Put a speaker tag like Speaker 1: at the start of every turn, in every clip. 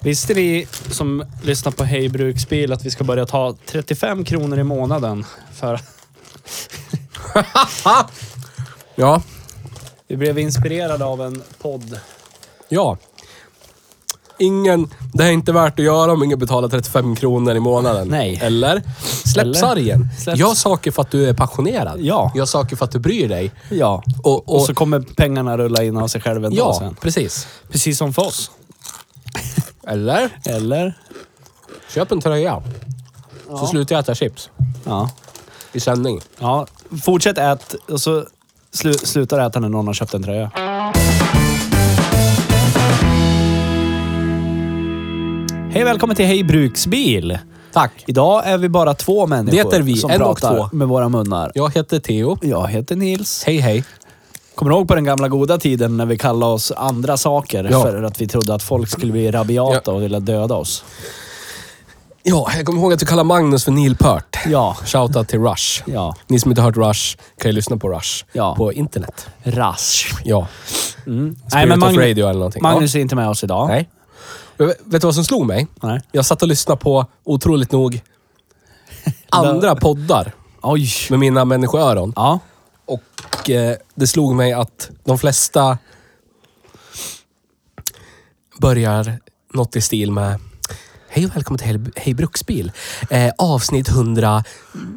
Speaker 1: Visste ni som lyssnar på Hej Bruksbil att vi ska börja ta 35 kronor i månaden? För
Speaker 2: Ja.
Speaker 1: vi blev inspirerade av en podd.
Speaker 2: Ja. Ingen, det är inte värt att göra om ingen betalar 35 kronor i månaden.
Speaker 1: Nej.
Speaker 2: Eller? Släpp
Speaker 1: Eller?
Speaker 2: sargen.
Speaker 1: Släpp-
Speaker 2: Gör saker för att du är passionerad.
Speaker 1: Ja.
Speaker 2: Gör saker för att du bryr dig.
Speaker 1: Ja.
Speaker 2: Och, och,
Speaker 1: Och så kommer pengarna rulla in av sig själv ändå
Speaker 2: ja,
Speaker 1: sen.
Speaker 2: precis.
Speaker 1: Precis som för oss.
Speaker 2: Eller?
Speaker 1: Eller?
Speaker 2: Köp en tröja. Så slutar jag äta chips.
Speaker 1: Ja.
Speaker 2: I sändning.
Speaker 1: ja. Fortsätt ät och så slu slutar äta när någon har köpt en tröja. Hej välkommen till Hej Bruksbil!
Speaker 2: Tack.
Speaker 1: Idag är vi bara två människor
Speaker 2: Det är vi,
Speaker 1: som
Speaker 2: en och
Speaker 1: pratar
Speaker 2: två.
Speaker 1: med våra munnar.
Speaker 2: Jag heter Theo.
Speaker 1: Jag heter Nils.
Speaker 2: Hej hej.
Speaker 1: Kommer du ihåg på den gamla goda tiden när vi kallade oss andra saker
Speaker 2: Ja.
Speaker 1: för att vi trodde att folk skulle bli rabiata och vilja döda oss?
Speaker 2: Ja, jag kommer ihåg att du kallar Magnus för Neil Peart.
Speaker 1: Ja.
Speaker 2: Shoutout till Rush.
Speaker 1: Ja.
Speaker 2: Ni som inte har hört Rush kan ju lyssna på Rush
Speaker 1: Ja.
Speaker 2: på internet.
Speaker 1: Rasch.
Speaker 2: Ja.
Speaker 1: Nej, men
Speaker 2: of
Speaker 1: Magnus,
Speaker 2: Radio eller någonting.
Speaker 1: Magnus är inte med oss idag.
Speaker 2: Ja. Nej. Jag Vet vet du vad som slog mig?
Speaker 1: Nej.
Speaker 2: Jag satt och lyssnade på, otroligt nog, andra poddar
Speaker 1: Oj.
Speaker 2: med mina människoöron.
Speaker 1: Ja.
Speaker 2: Och eh, det slog mig att de flesta börjar något i stil med Hej och välkommen till Hej, Hej Bruksbil. Eh, avsnitt 100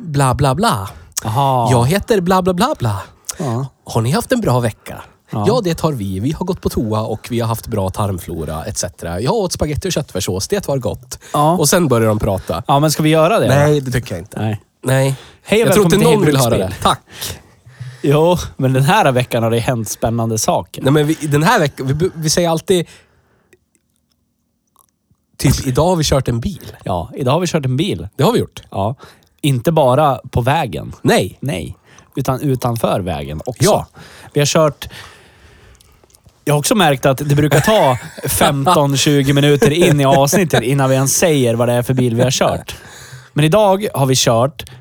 Speaker 2: bla bla bla.
Speaker 1: Aha.
Speaker 2: Jag heter bla bla bla bla.
Speaker 1: Ja.
Speaker 2: Har ni haft en bra vecka? Ja. det har vi. Vi har gått på toa och vi har haft bra tarmflora etc. Jag åt spagetti och köttfärssås. Det var gott.
Speaker 1: Ja.
Speaker 2: Och sen börjar de prata.
Speaker 1: ja, men ska vi göra det?
Speaker 2: Nej, det tycker jag inte.
Speaker 1: Nej.
Speaker 2: Nej.
Speaker 1: Hej och
Speaker 2: jag tror
Speaker 1: välkommen
Speaker 2: inte någon
Speaker 1: till Hej
Speaker 2: vill höra det.
Speaker 1: Bruksbil.
Speaker 2: Tack.
Speaker 1: Jo, men den här veckan har det hänt spännande saker.
Speaker 2: Nej, men vi, den här veckan, vi, vi säger alltid... Typ idag har vi kört en bil.
Speaker 1: Ja, idag har vi kört en bil.
Speaker 2: Det har vi gjort.
Speaker 1: Ja. Inte bara på vägen.
Speaker 2: Nej.
Speaker 1: Nej, utan utanför vägen också.
Speaker 2: Ja.
Speaker 1: Vi har kört... Jag har också märkt att det brukar ta 15-20 minuter in i avsnittet innan vi ens säger vad det är för bil vi har kört. Men idag har vi kört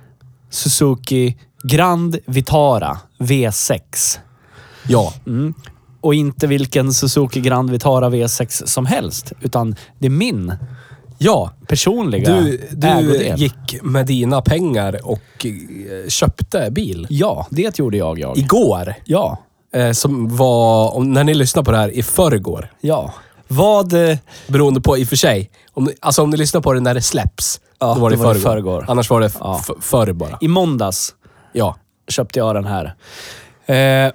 Speaker 1: Suzuki Grand Vitara V6.
Speaker 2: Ja.
Speaker 1: Och inte vilken Suzuki Grand Vitara V6 som helst, utan det är min
Speaker 2: Ja.
Speaker 1: personliga
Speaker 2: Du, du
Speaker 1: ägodel.
Speaker 2: gick med dina pengar och eh, köpte bil.
Speaker 1: Ja, det gjorde jag. jag.
Speaker 2: Igår.
Speaker 1: Ja.
Speaker 2: Eh, som var, om, när ni lyssnar på det här, i förrgår.
Speaker 1: Ja. Vad... eh,
Speaker 2: Beroende på, i och för sig. Om, ni- alltså om ni lyssnar på det när det släpps,
Speaker 1: Ja,
Speaker 2: då var det i
Speaker 1: då var
Speaker 2: förrgår.
Speaker 1: det förrgår.
Speaker 2: Annars var det f-
Speaker 1: Ja.
Speaker 2: f- förr bara.
Speaker 1: I måndags
Speaker 2: Ja.
Speaker 1: köpte jag den här. Eh,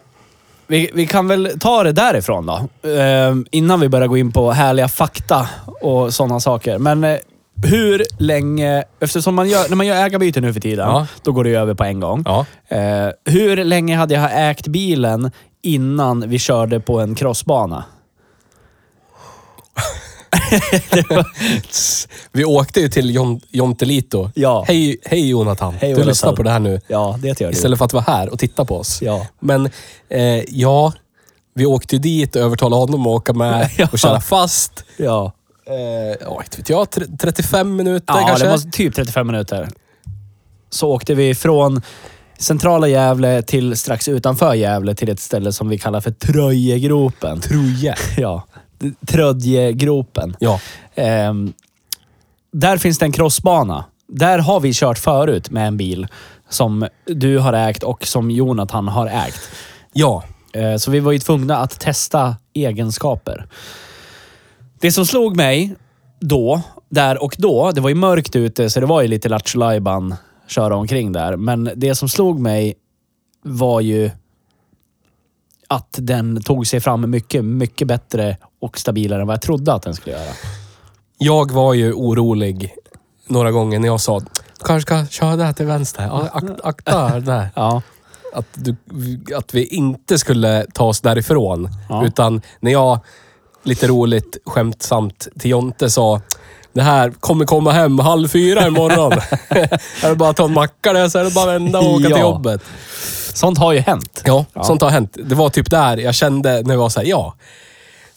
Speaker 1: vi, vi kan väl ta det därifrån då. Eh, innan vi börjar gå in på härliga fakta och sådana saker. Men eh, hur länge... Eftersom man gör, när man gör ägarbyte nu för tiden,
Speaker 2: Ja.
Speaker 1: då går det ju över på en gång.
Speaker 2: Ja.
Speaker 1: Eh, hur länge hade jag ägt bilen innan vi körde på en crossbana?
Speaker 2: Vi åkte ju till Jon, Jontelito.
Speaker 1: Ja.
Speaker 2: Hej, hej Jonathan.
Speaker 1: Hej,
Speaker 2: du
Speaker 1: Jonathan.
Speaker 2: lyssnar på det här nu.
Speaker 1: Ja, det gör du.
Speaker 2: Istället för att vara här och titta på oss.
Speaker 1: Ja.
Speaker 2: Men eh, ja, vi åkte ju dit och övertalade honom att åka med
Speaker 1: Ja.
Speaker 2: och köra fast.
Speaker 1: Ja,
Speaker 2: Eh, ja, inte vet jag, tre- 35 minuter
Speaker 1: ja
Speaker 2: kanske?
Speaker 1: det var typ 35 minuter. Så åkte vi från centrala Gävle till strax utanför Gävle till ett ställe som vi kallar för Tröjegropen.
Speaker 2: Troje.
Speaker 1: Ja, Tröjegropen.
Speaker 2: Ja.
Speaker 1: Ehm, där finns det en crossbana. Där har vi kört förut med en bil som du har ägt och som Jonathan har ägt.
Speaker 2: Ja.
Speaker 1: Eh, Så vi var ju tvungna att testa egenskaper. Det som slog mig då där och då, det var ju mörkt ute så det var ju lite Lattjo Lajban köra omkring där. Men det som slog mig var ju att den tog sig fram mycket, mycket bättre och stabilare än vad jag trodde att den skulle göra.
Speaker 2: Jag var ju orolig några gånger när jag sa "Du kanske ska köra där till vänster. Ja, ak- akta där.
Speaker 1: Ja,
Speaker 2: Att, du, att vi inte skulle ta oss därifrån.
Speaker 1: Ja.
Speaker 2: Utan när jag lite roligt skämtsamt till Jonte sa det här kommer komma hem halv fyra imorgon. är det bara att ta en macka där så är det bara att vända och åka
Speaker 1: Ja.
Speaker 2: till jobbet.
Speaker 1: sånt har ju hänt.
Speaker 2: Ja, sånt har hänt. Det var typ där jag kände när jag var såhär, ja.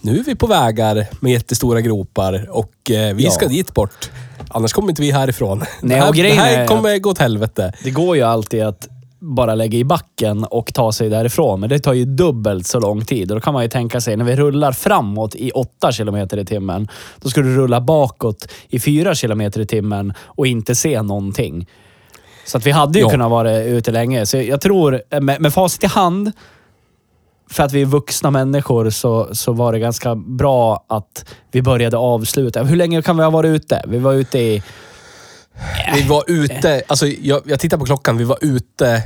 Speaker 2: Nu är vi på vägar med jättestora gropar och eh, vi
Speaker 1: Ja.
Speaker 2: ska dit bort. Annars kommer inte vi härifrån.
Speaker 1: Nej,
Speaker 2: det här,
Speaker 1: och
Speaker 2: det
Speaker 1: grejen
Speaker 2: här
Speaker 1: är
Speaker 2: kommer gå åt helvete.
Speaker 1: Det går ju alltid att bara lägga i backen och ta sig därifrån, men det tar ju dubbelt så lång tid. Och då kan man ju tänka sig, när vi rullar framåt i 8 kilometer i timmen, då ska du rulla bakåt i 4 kilometer i timmen och inte se någonting. Så att vi hade ju
Speaker 2: Ja.
Speaker 1: kunnat vara ute länge. Så jag tror, eh, med, med facit i hand, för att vi är vuxna människor så, så var det ganska bra att vi började avsluta. Hur länge kan vi ha varit ute? Vi var ute i...
Speaker 2: Vi var ute, alltså jag, jag tittar på klockan, vi var ute.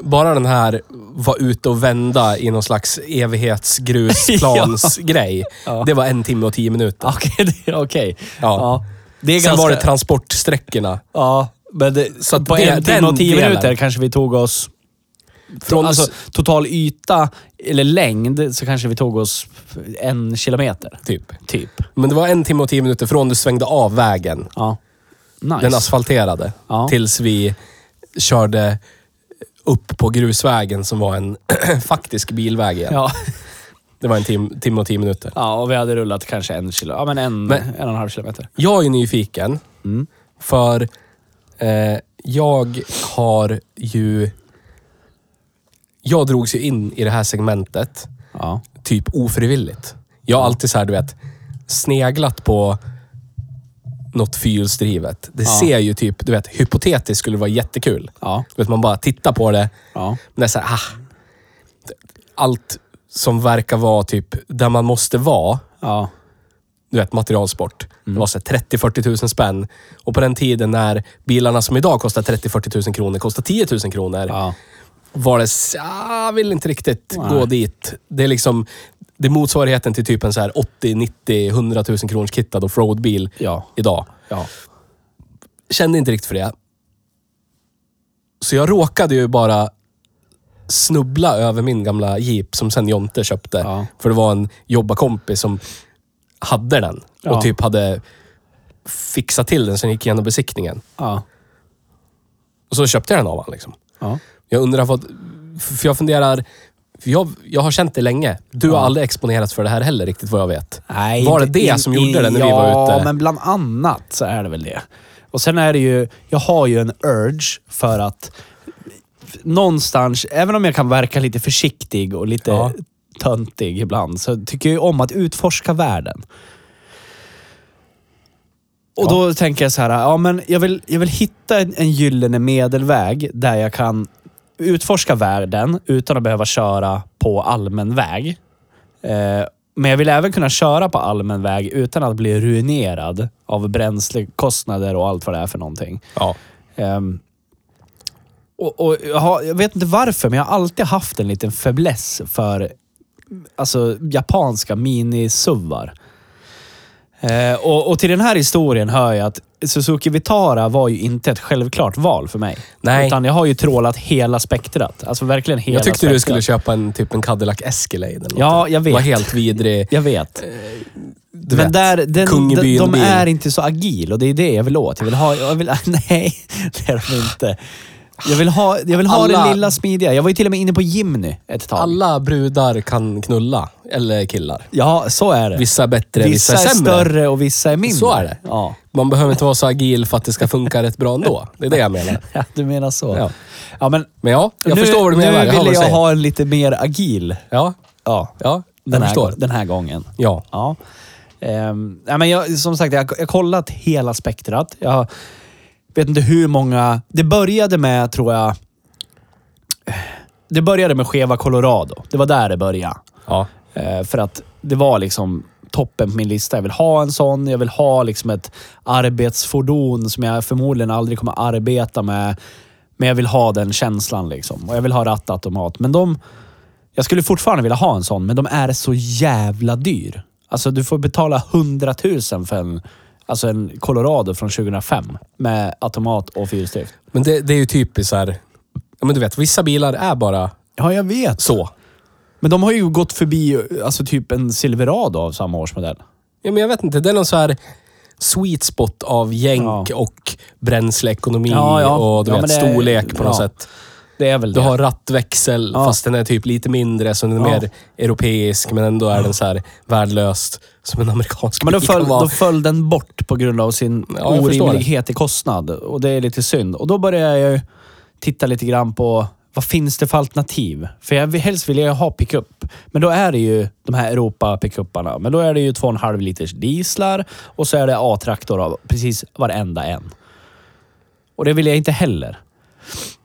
Speaker 2: Bara den här var ute och vända i någon slags evighetsgrusplansgrej.
Speaker 1: Ja.
Speaker 2: Det var en timme och tio minuter.
Speaker 1: Okej. det- okej.
Speaker 2: Ja.
Speaker 1: Det är
Speaker 2: Sen
Speaker 1: ganska...
Speaker 2: var det transportsträckorna.
Speaker 1: Ja, men det,
Speaker 2: Så att
Speaker 1: på
Speaker 2: det-
Speaker 1: en timme
Speaker 2: den
Speaker 1: och tio
Speaker 2: delen.
Speaker 1: minuter kanske vi tog oss...
Speaker 2: Från-
Speaker 1: alltså, total yta, eller längd, så kanske vi tog oss en kilometer.
Speaker 2: Typ.
Speaker 1: Typ.
Speaker 2: Men det var en timme och tio minuter från du svängde av vägen
Speaker 1: Ja. Nice.
Speaker 2: Den asfalterade.
Speaker 1: Ja.
Speaker 2: Tills vi körde upp på grusvägen som var en faktisk bilväg igen.
Speaker 1: ja.
Speaker 2: Det var en tim timme och tio minuter.
Speaker 1: ja, och vi hade rullat kanske en kilo, ja men en,
Speaker 2: Men-
Speaker 1: en och en halv kilometer.
Speaker 2: Jag är nyfiken.
Speaker 1: Mm.
Speaker 2: För eh, jag har ju... Jag drogs ju in i det här segmentet,
Speaker 1: Ja.
Speaker 2: typ ofrivilligt. Jag har alltid så här, du vet, sneglat på något fyrhjulsdrivet. Det ser ju typ, du vet, hypotetiskt skulle det vara jättekul.
Speaker 1: Ja.
Speaker 2: Du vet, man bara tittar på det.
Speaker 1: Ja.
Speaker 2: Men det är så här, ah, allt som verkar vara typ där man måste vara,
Speaker 1: Ja.
Speaker 2: du vet materialsport.
Speaker 1: Mm.
Speaker 2: Det var så här 30-40 000 spänn. Och på den tiden när bilarna som idag kostar 30-40 000 kronor kostar 10 000 kronor.
Speaker 1: Ja.
Speaker 2: Var det, s- ah, jag vill inte riktigt gå dit. Det är liksom, det är motsvarigheten till typ en så här 80, 90, 100 000 kronors kittad offroadbil
Speaker 1: Ja.
Speaker 2: idag.
Speaker 1: Ja.
Speaker 2: kände inte riktigt för det. Så jag råkade ju bara snubbla över min gamla jeep som sen Jonte köpte.
Speaker 1: Ja.
Speaker 2: För det var en jobbarkompis som hade den och
Speaker 1: Ja.
Speaker 2: typ hade fixat till den sen gick igenom besiktningen.
Speaker 1: Ja.
Speaker 2: Och så köpte jag den av honom. Liksom.
Speaker 1: Ja.
Speaker 2: Jag undrar vad... För jag funderar... För jag, jag har känt det länge. Du har aldrig exponerats för det här heller riktigt vad jag vet.
Speaker 1: Nej,
Speaker 2: var det
Speaker 1: inte-
Speaker 2: det
Speaker 1: in-
Speaker 2: som
Speaker 1: in-
Speaker 2: gjorde det när
Speaker 1: ja,
Speaker 2: vi var
Speaker 1: Ja,
Speaker 2: ute?
Speaker 1: men bland annat så är det väl det. Och sen är det ju, jag har ju en urge för att någonstans, även om jag kan verka lite försiktig och lite
Speaker 2: Ja.
Speaker 1: töntig ibland, så tycker jag ju om att utforska världen. Och då tänker jag så här, ja men jag vill, jag vill hitta en, en gyllene medelväg där jag kan utforska världen utan att behöva köra på allmän väg. Eh, men jag vill även kunna köra på allmän väg utan att bli ruinerad av bränslekostnader och allt vad det är för någonting.
Speaker 2: Ja.
Speaker 1: Ehm, och, och jag, har, jag vet inte varför, men jag har alltid haft en liten fäbless för alltså, japanska minisuvar. Eh, och, och till den här historien hör jag att Suzuki Vitara var ju inte ett självklart val för mig.
Speaker 2: Nej.
Speaker 1: Utan jag har ju trålat hela spektrat. Alltså verkligen hela
Speaker 2: Jag tyckte
Speaker 1: spektrat.
Speaker 2: du skulle köpa en typ en Cadillac Escalade. eller något.
Speaker 1: Ja, jag
Speaker 2: Det var
Speaker 1: vet.
Speaker 2: helt vidrig.
Speaker 1: Jag vet.
Speaker 2: Du
Speaker 1: Eh, men
Speaker 2: vet.
Speaker 1: där, den,
Speaker 2: kung i
Speaker 1: de,
Speaker 2: byn
Speaker 1: de
Speaker 2: bil.
Speaker 1: är inte så agil och det är det jag vill åt. Jag vill ha... Jag vill, nej, det är de inte. Jag vill ha, jag vill ha
Speaker 2: Alla-
Speaker 1: det lilla smidiga. Jag var ju till och med inne på Jimny ett tag.
Speaker 2: Alla brudar kan knulla, eller killar.
Speaker 1: Ja, så är det.
Speaker 2: Vissa är bättre, vissa,
Speaker 1: Vissa är
Speaker 2: sämre.
Speaker 1: större och vissa är mindre.
Speaker 2: Så är det.
Speaker 1: Ja,
Speaker 2: Man behöver inte vara så agil för att det ska funka rätt bra ändå. Det är det jag menar.
Speaker 1: Ja, du menar så.
Speaker 2: Ja.
Speaker 1: Ja, men
Speaker 2: Men ja, jag
Speaker 1: nu,
Speaker 2: förstår vad du menar.
Speaker 1: Nu
Speaker 2: hör vad
Speaker 1: ville
Speaker 2: du
Speaker 1: jag
Speaker 2: säger.
Speaker 1: ha en lite mer agil.
Speaker 2: Ja,
Speaker 1: Ja,
Speaker 2: ja jag
Speaker 1: den,
Speaker 2: förstår.
Speaker 1: här, den här gången.
Speaker 2: Ja.
Speaker 1: Ja. Ehm, nej, men jag, som sagt, jag jag har kollat hela spektrat. Jag vet inte hur många... Det började med, tror jag... Det började med skeva Colorado. Det var där det började.
Speaker 2: ja.
Speaker 1: Eh, för att det var liksom toppen på min lista. Jag vill ha en sån. Jag vill ha liksom ett arbetsfordon som jag förmodligen aldrig kommer arbeta med. Men jag vill ha den känslan liksom. Och jag vill ha rattautomat. Men de... Jag skulle fortfarande vilja ha en sån, men de är så jävla dyr. Alltså du får betala 100 000 för en, alltså en Colorado från 2005 med automat och fyrstyft.
Speaker 2: Men det, det är ju typiskt så här. Ja, men du vet, vissa bilar är bara
Speaker 1: Ja, jag vet.
Speaker 2: så.
Speaker 1: Men de har ju gått förbi alltså typ en Silverado av samma årsmodell.
Speaker 2: Ja, men jag vet inte. Det är någon så här sweet spot av jänk
Speaker 1: Ja.
Speaker 2: och bränsleekonomi
Speaker 1: Ja, ja.
Speaker 2: och du
Speaker 1: Ja,
Speaker 2: vet,
Speaker 1: men det är-
Speaker 2: storlek på något
Speaker 1: ja.
Speaker 2: sätt.
Speaker 1: Det är väl
Speaker 2: Du
Speaker 1: det.
Speaker 2: har rattväxel,
Speaker 1: Ja.
Speaker 2: fast den är typ lite mindre, så den är
Speaker 1: Ja.
Speaker 2: mer europeisk, men ändå är den så här värdelöst som en amerikansk
Speaker 1: Men då
Speaker 2: bil
Speaker 1: föll,
Speaker 2: kan vara.
Speaker 1: då föll den bort på grund av sin
Speaker 2: Ja, jag förstår
Speaker 1: orimlighet i kostnad. Och det är lite synd. Och då började jag ju titta lite grann på vad finns det för alternativ? För jag, vill- helst vill jag ju ha pickup. Men då är det ju de här Europa-pickuparna. Men då är det ju 2,5 liters dieslar och så är det A-traktor av precis varenda en. Och det vill jag inte heller.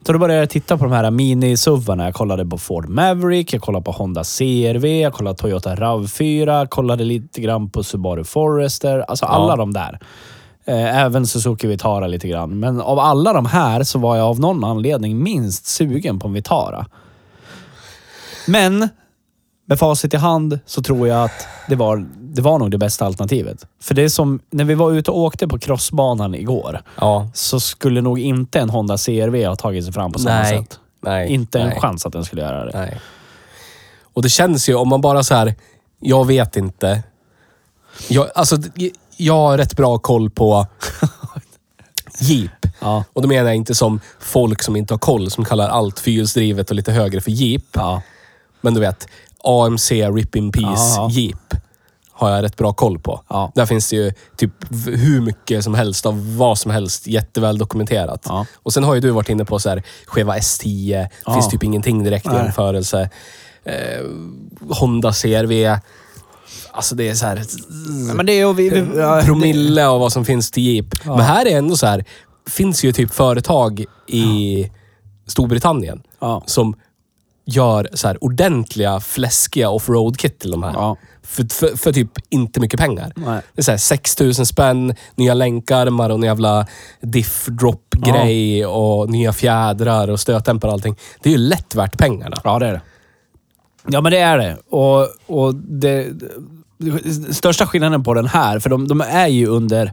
Speaker 1: Så då började jag titta på de här mini-suvarna. Jag kollade på Ford Maverick, jag kollade på Honda CRV, jag kollade Toyota RAV4, kollade lite grann på Subaru Forester. Alltså alla de där. Eh, Även Suzuki Vitara lite grann. Men av alla de här så var jag av någon anledning minst sugen på en Vitara. Men med facit i hand så tror jag att det var, det var nog det bästa alternativet. För det är som när vi var ute och åkte på crossbanan igår
Speaker 2: Ja.
Speaker 1: så skulle nog inte en Honda CRV ha tagit sig fram på samma
Speaker 2: Nej.
Speaker 1: sätt.
Speaker 2: Nej.
Speaker 1: Inte en
Speaker 2: Nej.
Speaker 1: chans att den skulle göra det.
Speaker 2: Nej. Och det känns ju, om man bara så här, jag vet inte. Jag, alltså, d- jag har rätt bra koll på Jeep.
Speaker 1: Ja.
Speaker 2: Och då menar jag inte som folk som inte har koll, som kallar allt fyrhjulsdrivet och lite högre för Jeep.
Speaker 1: Ja.
Speaker 2: Men du vet, AMC Rip In Peace
Speaker 1: Ja, ja.
Speaker 2: Jeep har jag rätt bra koll på.
Speaker 1: Ja.
Speaker 2: Där finns det ju typ v- hur mycket som helst av vad som helst jätteväl dokumenterat.
Speaker 1: Ja.
Speaker 2: Och sen har ju du varit inne på så här, Cheva S10,
Speaker 1: Ja.
Speaker 2: finns typ ingenting direkt i
Speaker 1: Nej.
Speaker 2: jämförelse. Eh, Honda CRV. Alltså det är så här
Speaker 1: Men det är ju... Vi, vi, ja,
Speaker 2: promille av vad som finns till Jeep. Men här är ändå så här, finns ju typ företag i Storbritannien
Speaker 1: Ja.
Speaker 2: som gör så här ordentliga fläskiga offroad-kit till de här.
Speaker 1: Ja.
Speaker 2: För, för, för typ inte mycket pengar.
Speaker 1: Nej.
Speaker 2: Det är så här 6 000 spänn, nya länkarmar och en jävla diff-drop-grej och nya fjädrar och stötdämpare och allting. Det är ju lätt värt pengarna.
Speaker 1: ja, det är det. Ja, men det är det. Och, och det, största skillnaden på den här, för de, de är ju under...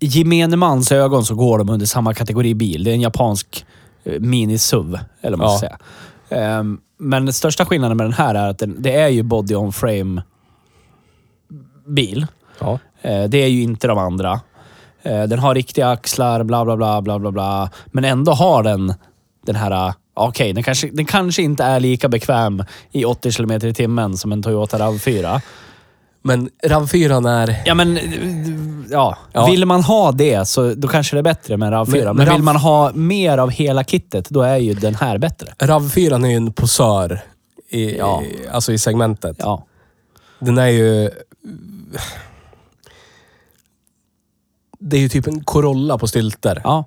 Speaker 1: I gemene mans ögon så går de under samma kategori bil. Det är en japansk eh, mini-SUV, eller vad man ska
Speaker 2: Ja.
Speaker 1: säga. Ehm, men den största skillnaden med den här är att den, det är ju body-on-frame-bil.
Speaker 2: Ja.
Speaker 1: Eh, Det är ju inte de andra. Eh, Den har riktiga axlar, bla bla bla bla bla bla. Men ändå har den den här... eh, Okej, den, kanske, den kanske inte är lika bekväm i 80 km i timmen som en Toyota RAV4.
Speaker 2: Men RAV4 är...
Speaker 1: Ja, men... eh, Ja.
Speaker 2: Ja.
Speaker 1: Vill man ha det så då kanske det är bättre med en RAV4.
Speaker 2: Men-
Speaker 1: Men,
Speaker 2: men
Speaker 1: vill
Speaker 2: RAV
Speaker 1: man ha mer av hela kittet, då är ju den här bättre.
Speaker 2: RAV4 är ju en posör i,
Speaker 1: Ja.
Speaker 2: i, alltså i segmentet.
Speaker 1: Ja.
Speaker 2: Den är ju... Det är ju typ en Corolla på stylter.
Speaker 1: Ja.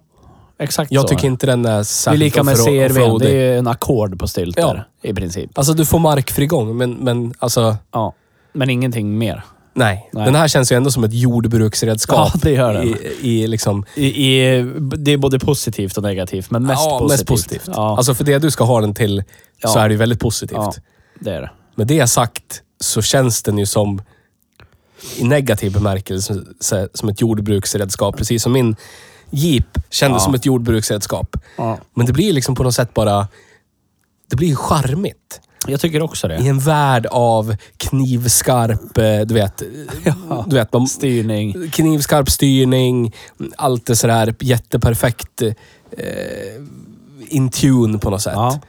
Speaker 1: Exakt
Speaker 2: jag
Speaker 1: så.
Speaker 2: tycker inte den är
Speaker 1: Det är
Speaker 2: särskilt
Speaker 1: lika med
Speaker 2: offro-
Speaker 1: CRV.
Speaker 2: offroadig.
Speaker 1: Det är ju en ackord på stylter i princip.
Speaker 2: Alltså du får markfrigång, men, men alltså...
Speaker 1: Ja. Men ingenting mer.
Speaker 2: Nej.
Speaker 1: Nej.
Speaker 2: Den här känns ju ändå som ett jordbruksredskap.
Speaker 1: Ja, det gör den.
Speaker 2: I, i liksom...
Speaker 1: I, i, det är både positivt och negativt, men mest
Speaker 2: ja,
Speaker 1: positivt.
Speaker 2: mest positivt.
Speaker 1: Ja,
Speaker 2: Alltså för det du ska ha den till så
Speaker 1: Ja.
Speaker 2: är det ju väldigt positivt.
Speaker 1: ja, det är det.
Speaker 2: Med det sagt så känns den ju som i negativ bemärkelse så- som ett jordbruksredskap. Precis som min Jeep kändes
Speaker 1: Ja.
Speaker 2: som ett jordbruksredskap.
Speaker 1: Ja.
Speaker 2: Men det blir liksom på något sätt bara... Det blir ju charmigt.
Speaker 1: Jag tycker också det.
Speaker 2: I en värld av knivskarp, eh, du vet... Du vet man,
Speaker 1: Styrning.
Speaker 2: knivskarp styrning, allt det sådär jätteperfekt eh, in tune på något sätt
Speaker 1: Ja.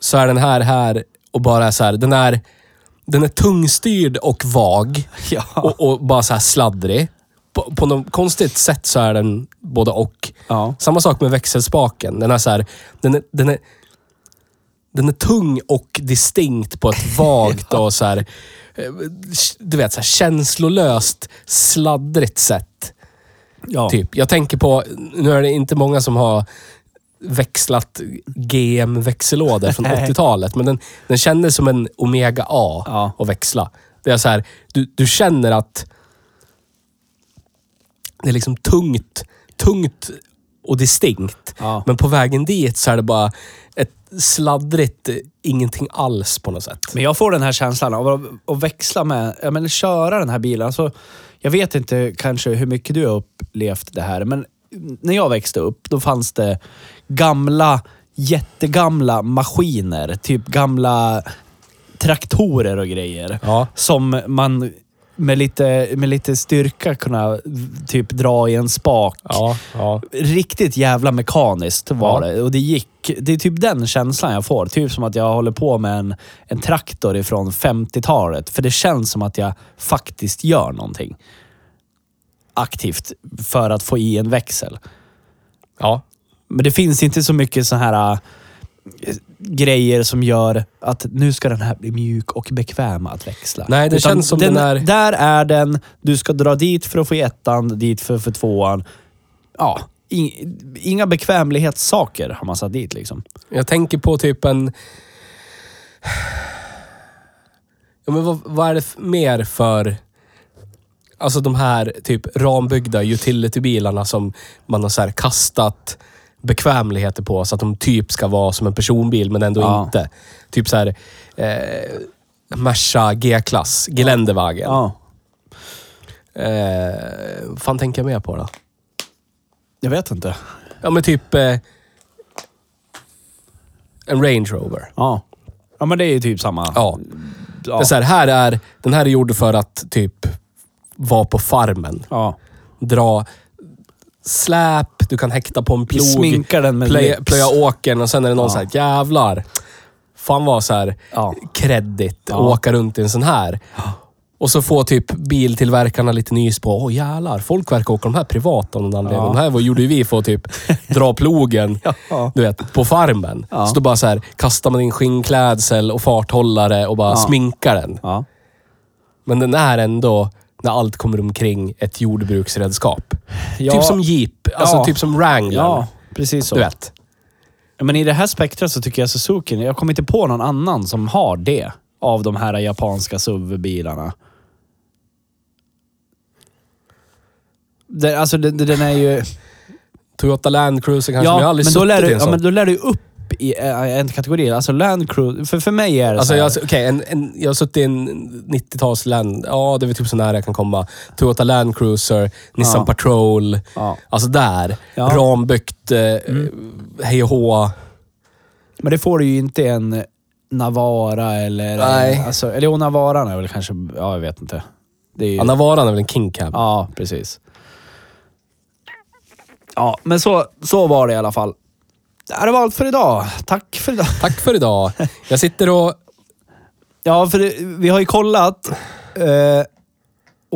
Speaker 2: så är den här här och bara så här, den är, den är tungstyrd och vag.
Speaker 1: Ja.
Speaker 2: Och, och bara så här sladdrig. På, på något konstigt sätt så är den både och.
Speaker 1: Ja.
Speaker 2: Samma sak med växelspaken. Den är så här, den är, den är, den är tung och distinkt på ett vagt och så här, eh, du vet, så här känslolöst, sladdrigt sätt.
Speaker 1: Ja.
Speaker 2: Typ. Jag tänker på, nu är det inte många som har växlat GM-växellådor från
Speaker 1: Nej.
Speaker 2: 80-talet, men den, den kändes som en Omega A
Speaker 1: Ja.
Speaker 2: att växla. Det är så här, du, du känner att det är liksom tungt, tungt och distinkt.
Speaker 1: Ja.
Speaker 2: Men på vägen dit så är det bara ett sladdrigt eh, ingenting alls på något sätt.
Speaker 1: Men jag får den här känslan av att- att växla med, ja, men köra den här bilen. Alltså, jag vet inte kanske hur mycket du har upplevt det här, men när jag växte upp, då fanns det gamla, jättegamla maskiner. Typ gamla traktorer och grejer.
Speaker 2: Ja.
Speaker 1: Som man med lite, med lite styrka kunna typ dra i en spak.
Speaker 2: Ja, ja.
Speaker 1: Riktigt jävla mekaniskt var
Speaker 2: Ja.
Speaker 1: det. Och det gick. Det är typ den känslan jag får. Typ som att jag håller på med en, en traktor ifrån 50-talet. För det känns som att jag faktiskt gör någonting. Aktivt för att få i en växel.
Speaker 2: ja.
Speaker 1: Men det finns inte så mycket så här eh, grejer som gör att nu ska den här bli mjuk och bekväm att växla.
Speaker 2: Nej, det känns som den är-
Speaker 1: Där är den. Du ska dra dit för att få i ettan, dit för, för tvåan. Ja, ing- inga bekvämlighetssaker har man satt dit liksom.
Speaker 2: Jag tänker på typ en... Ja, men vad, vad är det f- mer för... Alltså de här typ rambyggda utilitybilarna som man har så här kastat bekvämligheter på så att de typ ska vara som en personbil men ändå
Speaker 1: Ja.
Speaker 2: inte. Typ så här eh, Merca G-klass, Geländewagen.
Speaker 1: Ja.
Speaker 2: Eh, vad fan tänker jag mer på då?
Speaker 1: Jag vet inte.
Speaker 2: Ja men typ eh, en Range Rover.
Speaker 1: Ja. Ja, men det är ju typ samma.
Speaker 2: Ja.
Speaker 1: Ja.
Speaker 2: Det är så här, här är, den här är gjord för att typ vara på farmen.
Speaker 1: ja.
Speaker 2: Dra släp, du kan häkta på en
Speaker 1: Vi
Speaker 2: plog.
Speaker 1: sminkar den med
Speaker 2: plöja,
Speaker 1: lyx.
Speaker 2: plöja åkern och sen är det någon så här, jävlar. Fan vad så här
Speaker 1: Ja.
Speaker 2: kreddigt att
Speaker 1: Ja.
Speaker 2: åka runt i en sån här. Och så får typ biltillverkarna lite nys på, åh jävlar, folk verkar åka de här privat av någon anledning.
Speaker 1: Ja.
Speaker 2: Den här var- gjorde ju vi för att typ dra plogen,
Speaker 1: Ja.
Speaker 2: du vet, på farmen.
Speaker 1: Ja.
Speaker 2: Så då bara så här, kastar man in skinnklädsel och farthållare och bara
Speaker 1: Ja.
Speaker 2: sminkar den.
Speaker 1: ja.
Speaker 2: Men den är ändå, när allt kommer omkring, ett jordbruksredskap.
Speaker 1: Ja.
Speaker 2: Typ som Jeep, alltså
Speaker 1: Ja.
Speaker 2: typ som Wrangler.
Speaker 1: Ja, precis så.
Speaker 2: Du vet.
Speaker 1: Ja, Men i det här spektrat så tycker jag Suzuki, jag kommer inte på någon annan som har det av de här japanska SUV-bilarna. Den, alltså den, den är ju...
Speaker 2: Toyota Land Cruiser kanske, men jag har aldrig
Speaker 1: men då
Speaker 2: suttit
Speaker 1: lär,
Speaker 2: i
Speaker 1: du,
Speaker 2: en
Speaker 1: ja,
Speaker 2: sån.
Speaker 1: men då lär du upp i eh, en kategori. Alltså Land Cruiser, för, för mig är det
Speaker 2: Alltså
Speaker 1: så här,
Speaker 2: jag, okej, en, en, jag har suttit i en 90-tals Land... Ja, det är väl typ så nära jag kan komma. Toyota Land Cruiser, Nissan
Speaker 1: Ja.
Speaker 2: Patrol.
Speaker 1: Ja.
Speaker 2: Alltså där.
Speaker 1: Ja. Mm.
Speaker 2: Rambyggt, eh, hej och hå.
Speaker 1: Men det får du ju inte i en Navara eller...
Speaker 2: Nej.
Speaker 1: Alltså, eller jo, Navaran är väl kanske... Ja, jag vet inte. Det är ju,
Speaker 2: Ja, Navaran är väl en king cab?
Speaker 1: Ja, precis. Ja, men så, så var det i alla fall. Det här var allt för idag. Tack för idag.
Speaker 2: Tack för idag. Jag sitter och...
Speaker 1: Ja, för det, vi har ju kollat. Eh,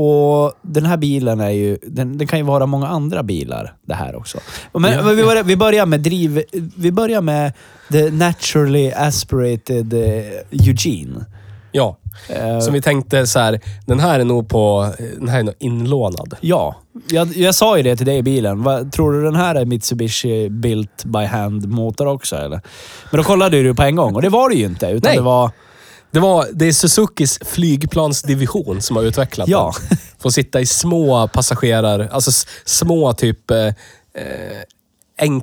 Speaker 1: och den här bilen är ju... Den, den kan ju vara många andra bilar, det här också. Men, men vi, börjar, vi börjar med driv... Vi börjar med the naturally aspirated eh, Eugene.
Speaker 2: Ja.
Speaker 1: Eh,
Speaker 2: Som vi tänkte så här, den här är nog på... Den här är nog inlånad.
Speaker 1: Ja, jag, jag sa ju det till dig i bilen. Va, tror du den här är Mitsubishi Built by Hand motor också eller? Men då kollade du på en gång och det var det ju inte. Utan
Speaker 2: Nej.
Speaker 1: det var...
Speaker 2: Det, var, det är Suzukis flygplansdivision som har utvecklat
Speaker 1: Ja.
Speaker 2: den. Får sitta i små passagerar... Alltså s- små typ... Eh, eh,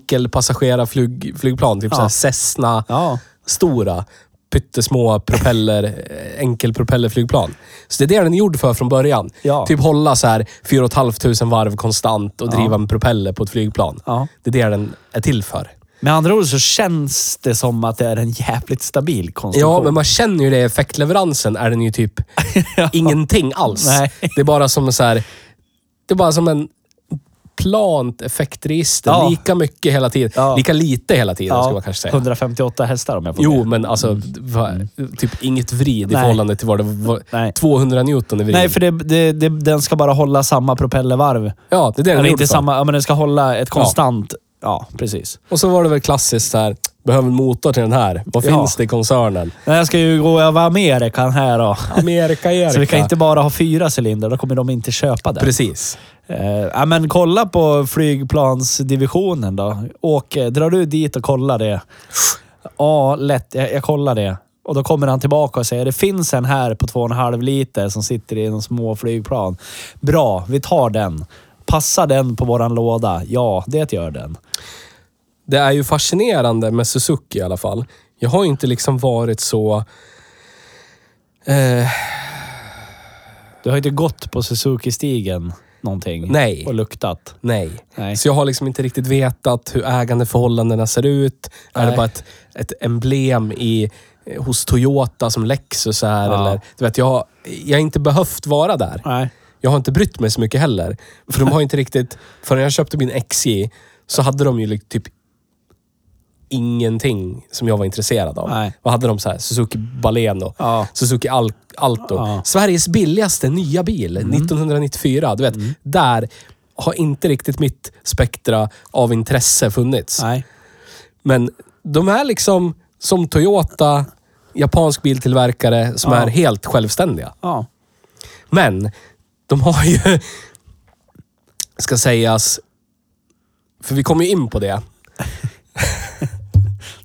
Speaker 2: enkelpassagerarflygplan. Flygplan, typ
Speaker 1: Ja.
Speaker 2: såhär Cessna.
Speaker 1: Ja.
Speaker 2: Stora. Pyttesmå propeller, eh, enkelpropellerflygplan. Så det är det den är gjord för från början.
Speaker 1: Ja.
Speaker 2: Typ hålla så här 4 500 varv konstant och driva en propeller på ett flygplan.
Speaker 1: Ja.
Speaker 2: Det är det den är till för.
Speaker 1: Med andra ord så känns det som att det är en jävligt stabil konstruktion.
Speaker 2: Ja, men man känner ju det. i Effektleveransen är den ju typ ingenting alls.
Speaker 1: Nej.
Speaker 2: Det är bara som en så här... Det är bara som en plant effektregister.
Speaker 1: Ja.
Speaker 2: Lika mycket hela tiden.
Speaker 1: Ja.
Speaker 2: Lika lite hela tiden,
Speaker 1: Ja,
Speaker 2: ska man kanske säga.
Speaker 1: 158 hästar om jag får
Speaker 2: Jo,
Speaker 1: med.
Speaker 2: men alltså va, typ inget vrid i
Speaker 1: Nej.
Speaker 2: förhållande till vad det var.
Speaker 1: Nej.
Speaker 2: 200 newton i vrid.
Speaker 1: Nej, för det, det, det, den ska bara hålla samma propellervarv.
Speaker 2: Ja, det är det den
Speaker 1: Eller
Speaker 2: är
Speaker 1: inte
Speaker 2: gjord för.
Speaker 1: samma, ja, men den ska hålla ett konstant... Ja, precis.
Speaker 2: Och så var det väl klassiskt så här, behöver en motor till den här. Vad
Speaker 1: Ja.
Speaker 2: finns det i koncernen?
Speaker 1: Men jag ska ju gå över Amerikan här då.
Speaker 2: Amerika, Erika.
Speaker 1: Så vi kan inte bara ha fyra cylindrar, då kommer de inte köpa den.
Speaker 2: Precis.
Speaker 1: Eh, ja, men kolla på eh, flygplansdivisionen då. Åke, drar du dit och kollar det? Ja, lätt. Jag, jag kollar det. Och då kommer han tillbaka och säger det finns en här på 2,5 liter som sitter i någon små flygplan. Bra, vi tar den. Passar den på våran låda? Ja, det gör den.
Speaker 2: Det är ju fascinerande med Suzuki i alla fall. Jag har ju inte liksom varit så... Eh,
Speaker 1: Du har ju inte gått på Suzuki-stigen någonting.
Speaker 2: Nej.
Speaker 1: Och luktat.
Speaker 2: nej.
Speaker 1: Nej.
Speaker 2: Så jag har liksom inte riktigt vetat hur ägandeförhållandena ser ut. Är det
Speaker 1: Nej.
Speaker 2: bara ett, ett emblem i, eh, hos Toyota som Lexus är?
Speaker 1: Ja.
Speaker 2: Eller, du vet, jag, har- jag har inte behövt vara där.
Speaker 1: Nej.
Speaker 2: Jag har inte brytt mig så mycket heller. För de har ju inte riktigt... Förrän jag köpte min XJ så hade de ju lik- typ ingenting som jag var intresserad av.
Speaker 1: Nej.
Speaker 2: Vad hade de så här? Suzuki Baleno,
Speaker 1: Ja.
Speaker 2: Suzuki Al- Alto.
Speaker 1: Ja. Mm.
Speaker 2: Sveriges billigaste nya bil 1994. Du vet, där har inte riktigt mitt spektra av intresse funnits.
Speaker 1: Nej.
Speaker 2: Men de är liksom som Toyota, japansk biltillverkare som
Speaker 1: Ja.
Speaker 2: är helt självständiga.
Speaker 1: Ja.
Speaker 2: Men de har ju, ska sägas, för vi kommer ju in på det.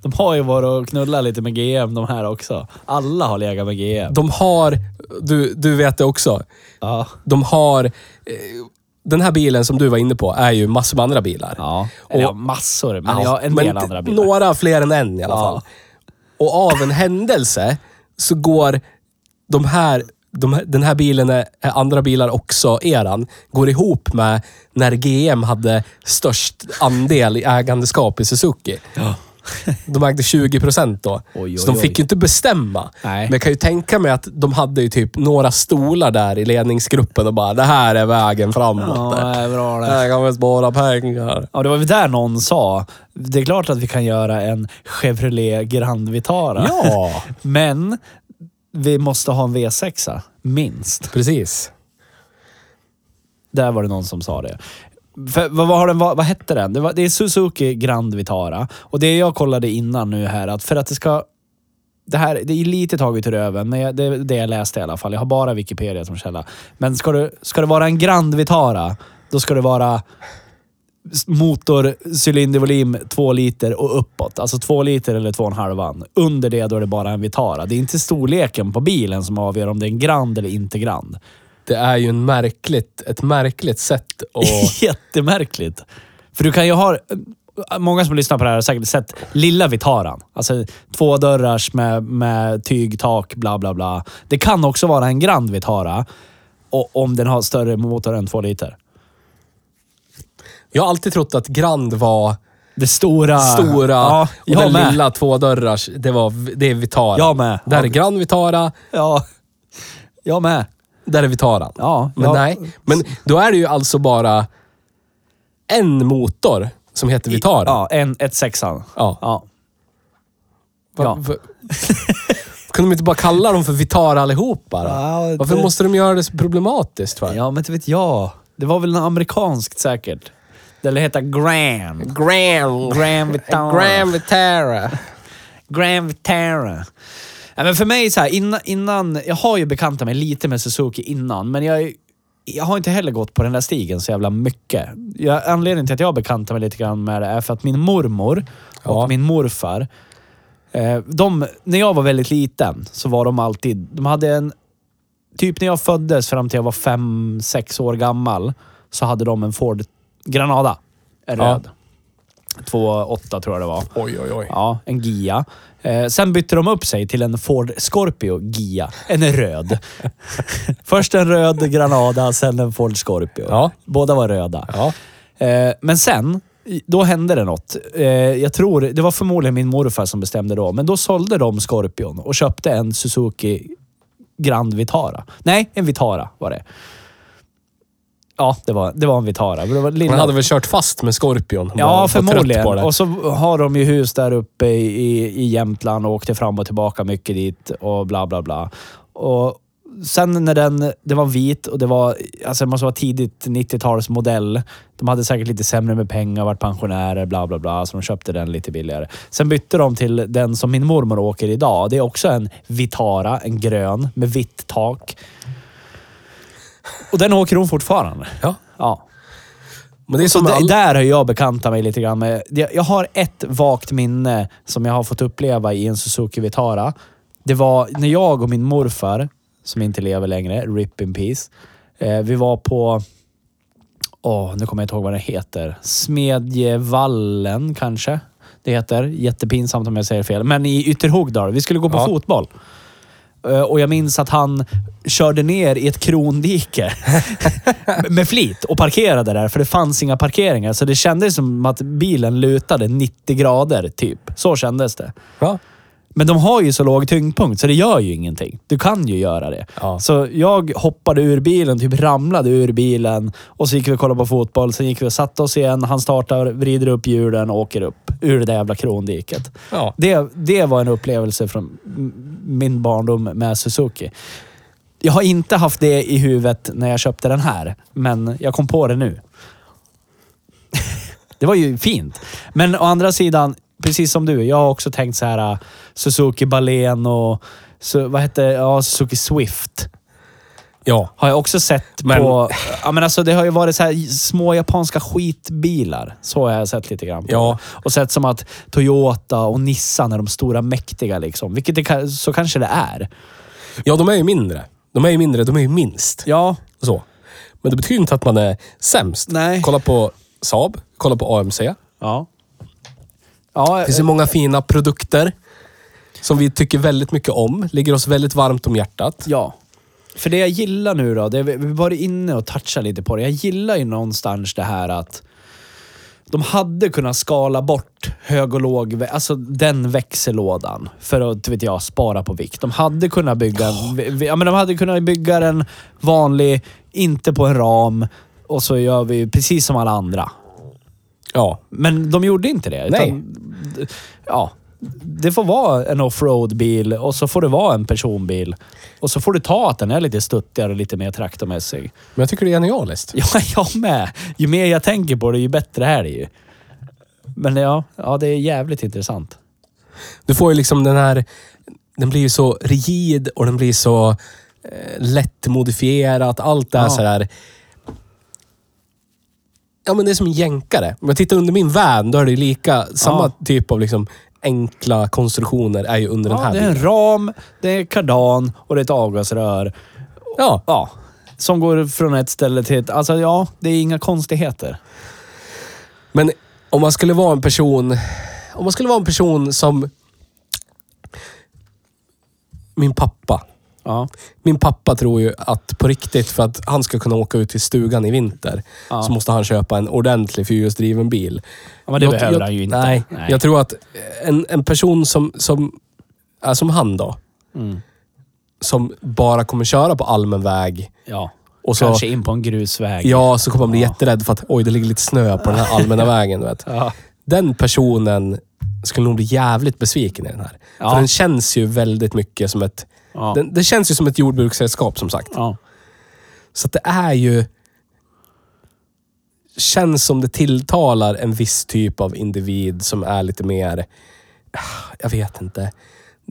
Speaker 1: De har ju varit och knullat lite med GM de här också. Alla har legat med GM.
Speaker 2: De har, du, du vet det också,
Speaker 1: Ja.
Speaker 2: de har... eh, Den här bilen som du var inne på är ju massor med andra bilar.
Speaker 1: Ja. Eller
Speaker 2: Och-
Speaker 1: ja, massor, men ja, en del
Speaker 2: d-
Speaker 1: andra bilar.
Speaker 2: Några fler än en i alla
Speaker 1: Ja.
Speaker 2: fall. Och av en händelse så går de här, de här, den här bilen, är, är andra bilar också eran, går ihop med när GM hade störst andel i ägandeskap i Suzuki. De ägde 20 procent då.
Speaker 1: Oj,
Speaker 2: så
Speaker 1: oj,
Speaker 2: de fick
Speaker 1: oj.
Speaker 2: ju inte bestämma.
Speaker 1: Nej.
Speaker 2: Men jag kan ju tänka mig att de hade ju typ några stolar där i ledningsgruppen och bara, det här är vägen
Speaker 1: Ja,
Speaker 2: framåt.
Speaker 1: det är bra det.
Speaker 2: Här kan vi spara pengar.
Speaker 1: Ja, det var väl där någon sa. Det är klart att vi kan göra en Chevrolet Grand Vitara.
Speaker 2: Ja,
Speaker 1: Men vi måste ha en V6, minst.
Speaker 2: precis.
Speaker 1: Där var det någon som sa det. För, vad, vad, har den, vad, vad hette den? Det, var, det är Suzuki Grand Vitara. Och det jag kollade innan nu här, att för att det ska... Det här det är lite taget ur röven, men jag, det är det jag läste i alla fall. Jag har bara Wikipedia som källa. Men ska, du, ska det vara en Grand Vitara, då ska det vara s- motor, cylindervolym, två liter och uppåt. Alltså två liter eller två och en halvan. Under det då är det bara en Vitara. Det är inte storleken på bilen som avgör om det är en Grand eller inte Grand.
Speaker 2: Det är ju en märkligt, ett märkligt sätt att...
Speaker 1: Jättemärkligt. För du kan ju ha... Många som lyssnar på det här har säkert sett lilla Vitaran. Alltså två dörrars med, med tygtak, bla bla bla. Det kan också vara en Grand Vitara. Och om den har större motor än två liter.
Speaker 2: Jag har alltid trott att Grand var
Speaker 1: Det stora...
Speaker 2: stora
Speaker 1: Ah, Ja,
Speaker 2: och den
Speaker 1: jag med.
Speaker 2: lilla tvådörrars, det, var, det är Vitara.
Speaker 1: Jag med.
Speaker 2: Där är Grand Vitara,
Speaker 1: Ja. Jag med.
Speaker 2: där är Vitaran.
Speaker 1: Ja,
Speaker 2: Men
Speaker 1: jag-
Speaker 2: nej, men då är det ju alltså bara en motor som heter Vitara.
Speaker 1: Ja, en, ett sexan.
Speaker 2: Ja.
Speaker 1: ja.
Speaker 2: Va-
Speaker 1: ja.
Speaker 2: va- Kunde de inte bara kalla dem för Vitara allihop bara?
Speaker 1: Ja, det-
Speaker 2: Varför måste de göra det så problematiskt för?
Speaker 1: Ja, men inte vet jag. Det var väl något amerikanskt säkert. Det heter Grand.
Speaker 2: Grand.
Speaker 1: Grand Vitara.
Speaker 2: Grand Vitara.
Speaker 1: Grand Vitara. Ja, men för mig så här, innan, innan... Jag har ju bekantat mig lite med Suzuki innan, men jag, är- jag har inte heller gått på den där stigen så jävla mycket. Jag, anledningen till att jag bekantar mig lite grann med det är för att min mormor och
Speaker 2: Ja.
Speaker 1: min morfar, eh, de, när jag var väldigt liten så var de alltid... De hade en... Typ när jag föddes fram till jag var fem, sex år gammal så hade de en Ford Granada. En
Speaker 2: Ja.
Speaker 1: röd. 2,8 tror jag det var.
Speaker 2: Oj, oj, oj.
Speaker 1: Ja, en GIA. Eh, sen bytte de upp sig till en Ford Scorpio GIA. En röd. Först en röd Granada, sen en Ford Scorpio.
Speaker 2: Ja.
Speaker 1: Båda var röda.
Speaker 2: Ja.
Speaker 1: Eh, men sen, i- då hände det något. Eh, jag tror, det var förmodligen min morfar som bestämde då, men då sålde de Scorpion och köpte en Suzuki Grand Vitara. Nej, en Vitara var det. Ja, det var, det var en Vitara. Det var lilla-
Speaker 2: Man hade väl kört fast med Scorpion. Man var
Speaker 1: Ja,
Speaker 2: trött
Speaker 1: förmodligen.
Speaker 2: på det.
Speaker 1: Och så har de ju hus där uppe i, i, i Jämtland och åkte fram och tillbaka mycket dit och bla bla bla. Och sen när den, det var vit och det var, alltså det måste vara tidigt 90-talsmodell. De hade säkert lite sämre med pengar, varit pensionärer, bla bla bla. Så de köpte den lite billigare. Sen bytte de till den som min mormor åker idag. Det är också en Vitara, en grön med vitt tak. Och den åker hon fortfarande.
Speaker 2: Ja.
Speaker 1: Ja.
Speaker 2: Men det är
Speaker 1: Så
Speaker 2: som med
Speaker 1: d-
Speaker 2: all...
Speaker 1: där har jag bekantat mig lite grann med. Jag jag har ett vagt minne som jag har fått uppleva i en Suzuki Vitara. Det var när jag och min morfar, som inte lever längre, RIP in peace. Eh, vi var på, åh, nu kommer jag inte ihåg vad det heter. Smedjevallen kanske det heter. Jättepinsamt om jag säger fel. Men i Ytterhogdal. Vi skulle gå på
Speaker 2: Ja.
Speaker 1: fotboll. Eh, Och jag minns att han körde ner i ett krondike med flit och parkerade där, för det fanns inga parkeringar. Så det kändes som att bilen lutade 90 grader, typ. Så kändes det.
Speaker 2: Ja.
Speaker 1: Men de har ju så låg tyngdpunkt, så det gör ju ingenting. Du kan ju göra det.
Speaker 2: Ja.
Speaker 1: Så jag hoppade ur bilen, typ ramlade ur bilen och så gick vi och kollade på fotboll. Sen gick vi och satte oss igen. Han startar, vrider upp hjulen och åker upp ur det där jävla krondiket.
Speaker 2: Ja.
Speaker 1: Det, det var en upplevelse från m- min barndom med Suzuki. Jag har inte haft det i huvudet när jag köpte den här, men jag kom på det nu. Det var ju fint. Men å andra sidan, precis som du, jag har också tänkt så här äh, Suzuki Balen och så, vad hette, ja, Suzuki Swift.
Speaker 2: ja.
Speaker 1: Har jag också sett
Speaker 2: Men-
Speaker 1: på... Ja, men alltså, det har ju varit så här små japanska skitbilar. Så har jag sett lite grann på.
Speaker 2: Ja.
Speaker 1: Och sett som att Toyota och Nissan är de stora mäktiga liksom. Vilket det, ka- så kanske det är.
Speaker 2: Ja, de är ju mindre. De är ju mindre, de är ju minst.
Speaker 1: Ja.
Speaker 2: Så. Men det betyder inte att man är sämst.
Speaker 1: Nej.
Speaker 2: Kolla på Saab, kolla på AMC.
Speaker 1: Ja. Ja,
Speaker 2: Det finns ju många fina produkter som vi tycker väldigt mycket om. Ligger oss väldigt varmt om hjärtat.
Speaker 1: Ja. För det jag gillar nu då, det, vi vi var inne och touchade lite på det. Jag gillar ju någonstans det här att de hade kunnat skala bort hög och låg, vä- alltså den växellådan för att, vet jag, spara på vikt. De hade kunnat bygga en, vi- vi- ja, men de hade kunnat bygga en vanlig, inte på en ram och så gör vi precis som alla andra.
Speaker 2: Ja.
Speaker 1: Men de gjorde inte det.
Speaker 2: Nej.
Speaker 1: Utan, d- ja, det får vara en offroad-bil och så får det vara en personbil. Och så får du ta att den är lite stuttigare och lite mer traktormässig.
Speaker 2: Men jag tycker det är genialiskt.
Speaker 1: Ja, jag med. Ju mer jag tänker på det, ju bättre är det ju. Men ja, ja det är jävligt intressant.
Speaker 2: Du får ju liksom den här... Den blir ju så rigid och den blir så eh, lättmodifierat. Allt det här
Speaker 1: Ja.
Speaker 2: så här... Ja, men det är som en jänkare. Om jag tittar under min van, då är det ju lika. Samma typ av liksom enkla konstruktioner är ju under den
Speaker 1: Ja,
Speaker 2: här
Speaker 1: det är
Speaker 2: bilen.
Speaker 1: en ram, det är kardan och det är ett avgasrör.
Speaker 2: Ja.
Speaker 1: Ja, som går från ett ställe till ett. Alltså ja, det är inga konstigheter.
Speaker 2: Men om man skulle vara en person... Om man skulle vara en person som... Min pappa.
Speaker 1: Ja,
Speaker 2: Min pappa tror ju att på riktigt, för att han ska kunna åka ut till stugan i vinter,
Speaker 1: Ja.
Speaker 2: så måste han köpa en ordentlig fyrhjulsdriven bil.
Speaker 1: ja men det behöver han ju inte.
Speaker 2: Nej, jag tror att en, en person som, som är som han då,
Speaker 1: Mm.
Speaker 2: som bara kommer köra på allmän väg
Speaker 1: Ja.
Speaker 2: och så,
Speaker 1: Kanske in på en grusväg.
Speaker 2: ja, så kommer han bli
Speaker 1: Ja.
Speaker 2: jätterädd för att oj, det ligger lite snö på den här allmänna vägen. Du vet.
Speaker 1: Ja.
Speaker 2: Den personen skulle nog bli jävligt besviken i den här.
Speaker 1: Ja.
Speaker 2: För den känns ju väldigt mycket som ett...
Speaker 1: Ja.
Speaker 2: Den, det känns ju som ett jordbruksredskap som sagt.
Speaker 1: ja.
Speaker 2: Så att det är ju... Känns som det tilltalar en viss typ av individ som är lite mer... ah, Jag vet inte.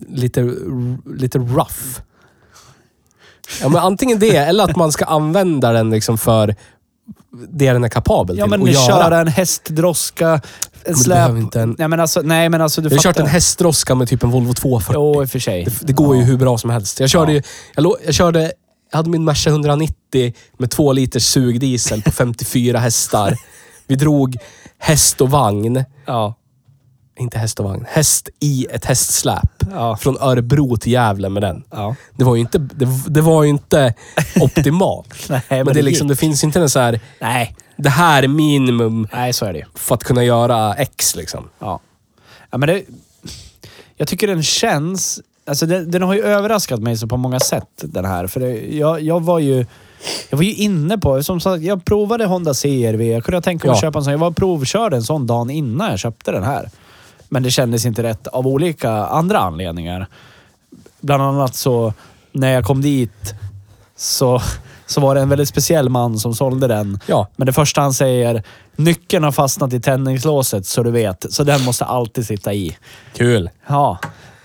Speaker 2: Lite, lite rough. Ja, men antingen det, eller att man ska använda den liksom för det den är kapabel
Speaker 1: Ja,
Speaker 2: till
Speaker 1: men
Speaker 2: att
Speaker 1: köra
Speaker 2: göra.
Speaker 1: en hästdroska, en
Speaker 2: du
Speaker 1: släp...
Speaker 2: behöver inte en-
Speaker 1: Nej, men alltså, nej, men alltså du
Speaker 2: Jag har kört
Speaker 1: fattar.
Speaker 2: en hästdroska med typ en Volvo 240.
Speaker 1: Jo, i och för sig.
Speaker 2: Det, det går ju hur bra som helst. Jag körde ju, jag, lå- jag körde, jag hade min Merca 190 med två liters sugdiesel på 54 hästar. Vi drog häst och vagn,
Speaker 1: Ja.
Speaker 2: inte häst och vagn, häst i ett hästsläp.
Speaker 1: Ja.
Speaker 2: Från Örebro till Gävle med den.
Speaker 1: ja.
Speaker 2: Det var ju inte, det, det var ju inte optimalt.
Speaker 1: Nej,
Speaker 2: men
Speaker 1: men
Speaker 2: det, är
Speaker 1: det
Speaker 2: liksom, det finns inte en så här,
Speaker 1: Nej.
Speaker 2: det här är minimum
Speaker 1: Nej, så är det ju.
Speaker 2: för att kunna göra X liksom.
Speaker 1: Ja. ja men det, jag tycker den känns... Alltså den, den har ju överraskat mig så på många sätt, den här. För det, jag, jag var ju... Jag var ju inne på... Som sagt, jag provade Honda CRV. Jag kunde tänka mig att
Speaker 2: Ja.
Speaker 1: köpa en sån. Jag var provkörd en sån dagen innan jag köpte den här. Men det kändes inte rätt av olika andra anledningar. Bland annat så, när jag kom dit så, så var det en väldigt speciell man som sålde den.
Speaker 2: Ja.
Speaker 1: Men det första han säger, nyckeln har fastnat i tändningslåset så du vet, så den måste alltid sitta i.
Speaker 2: Kul.
Speaker 1: Ja,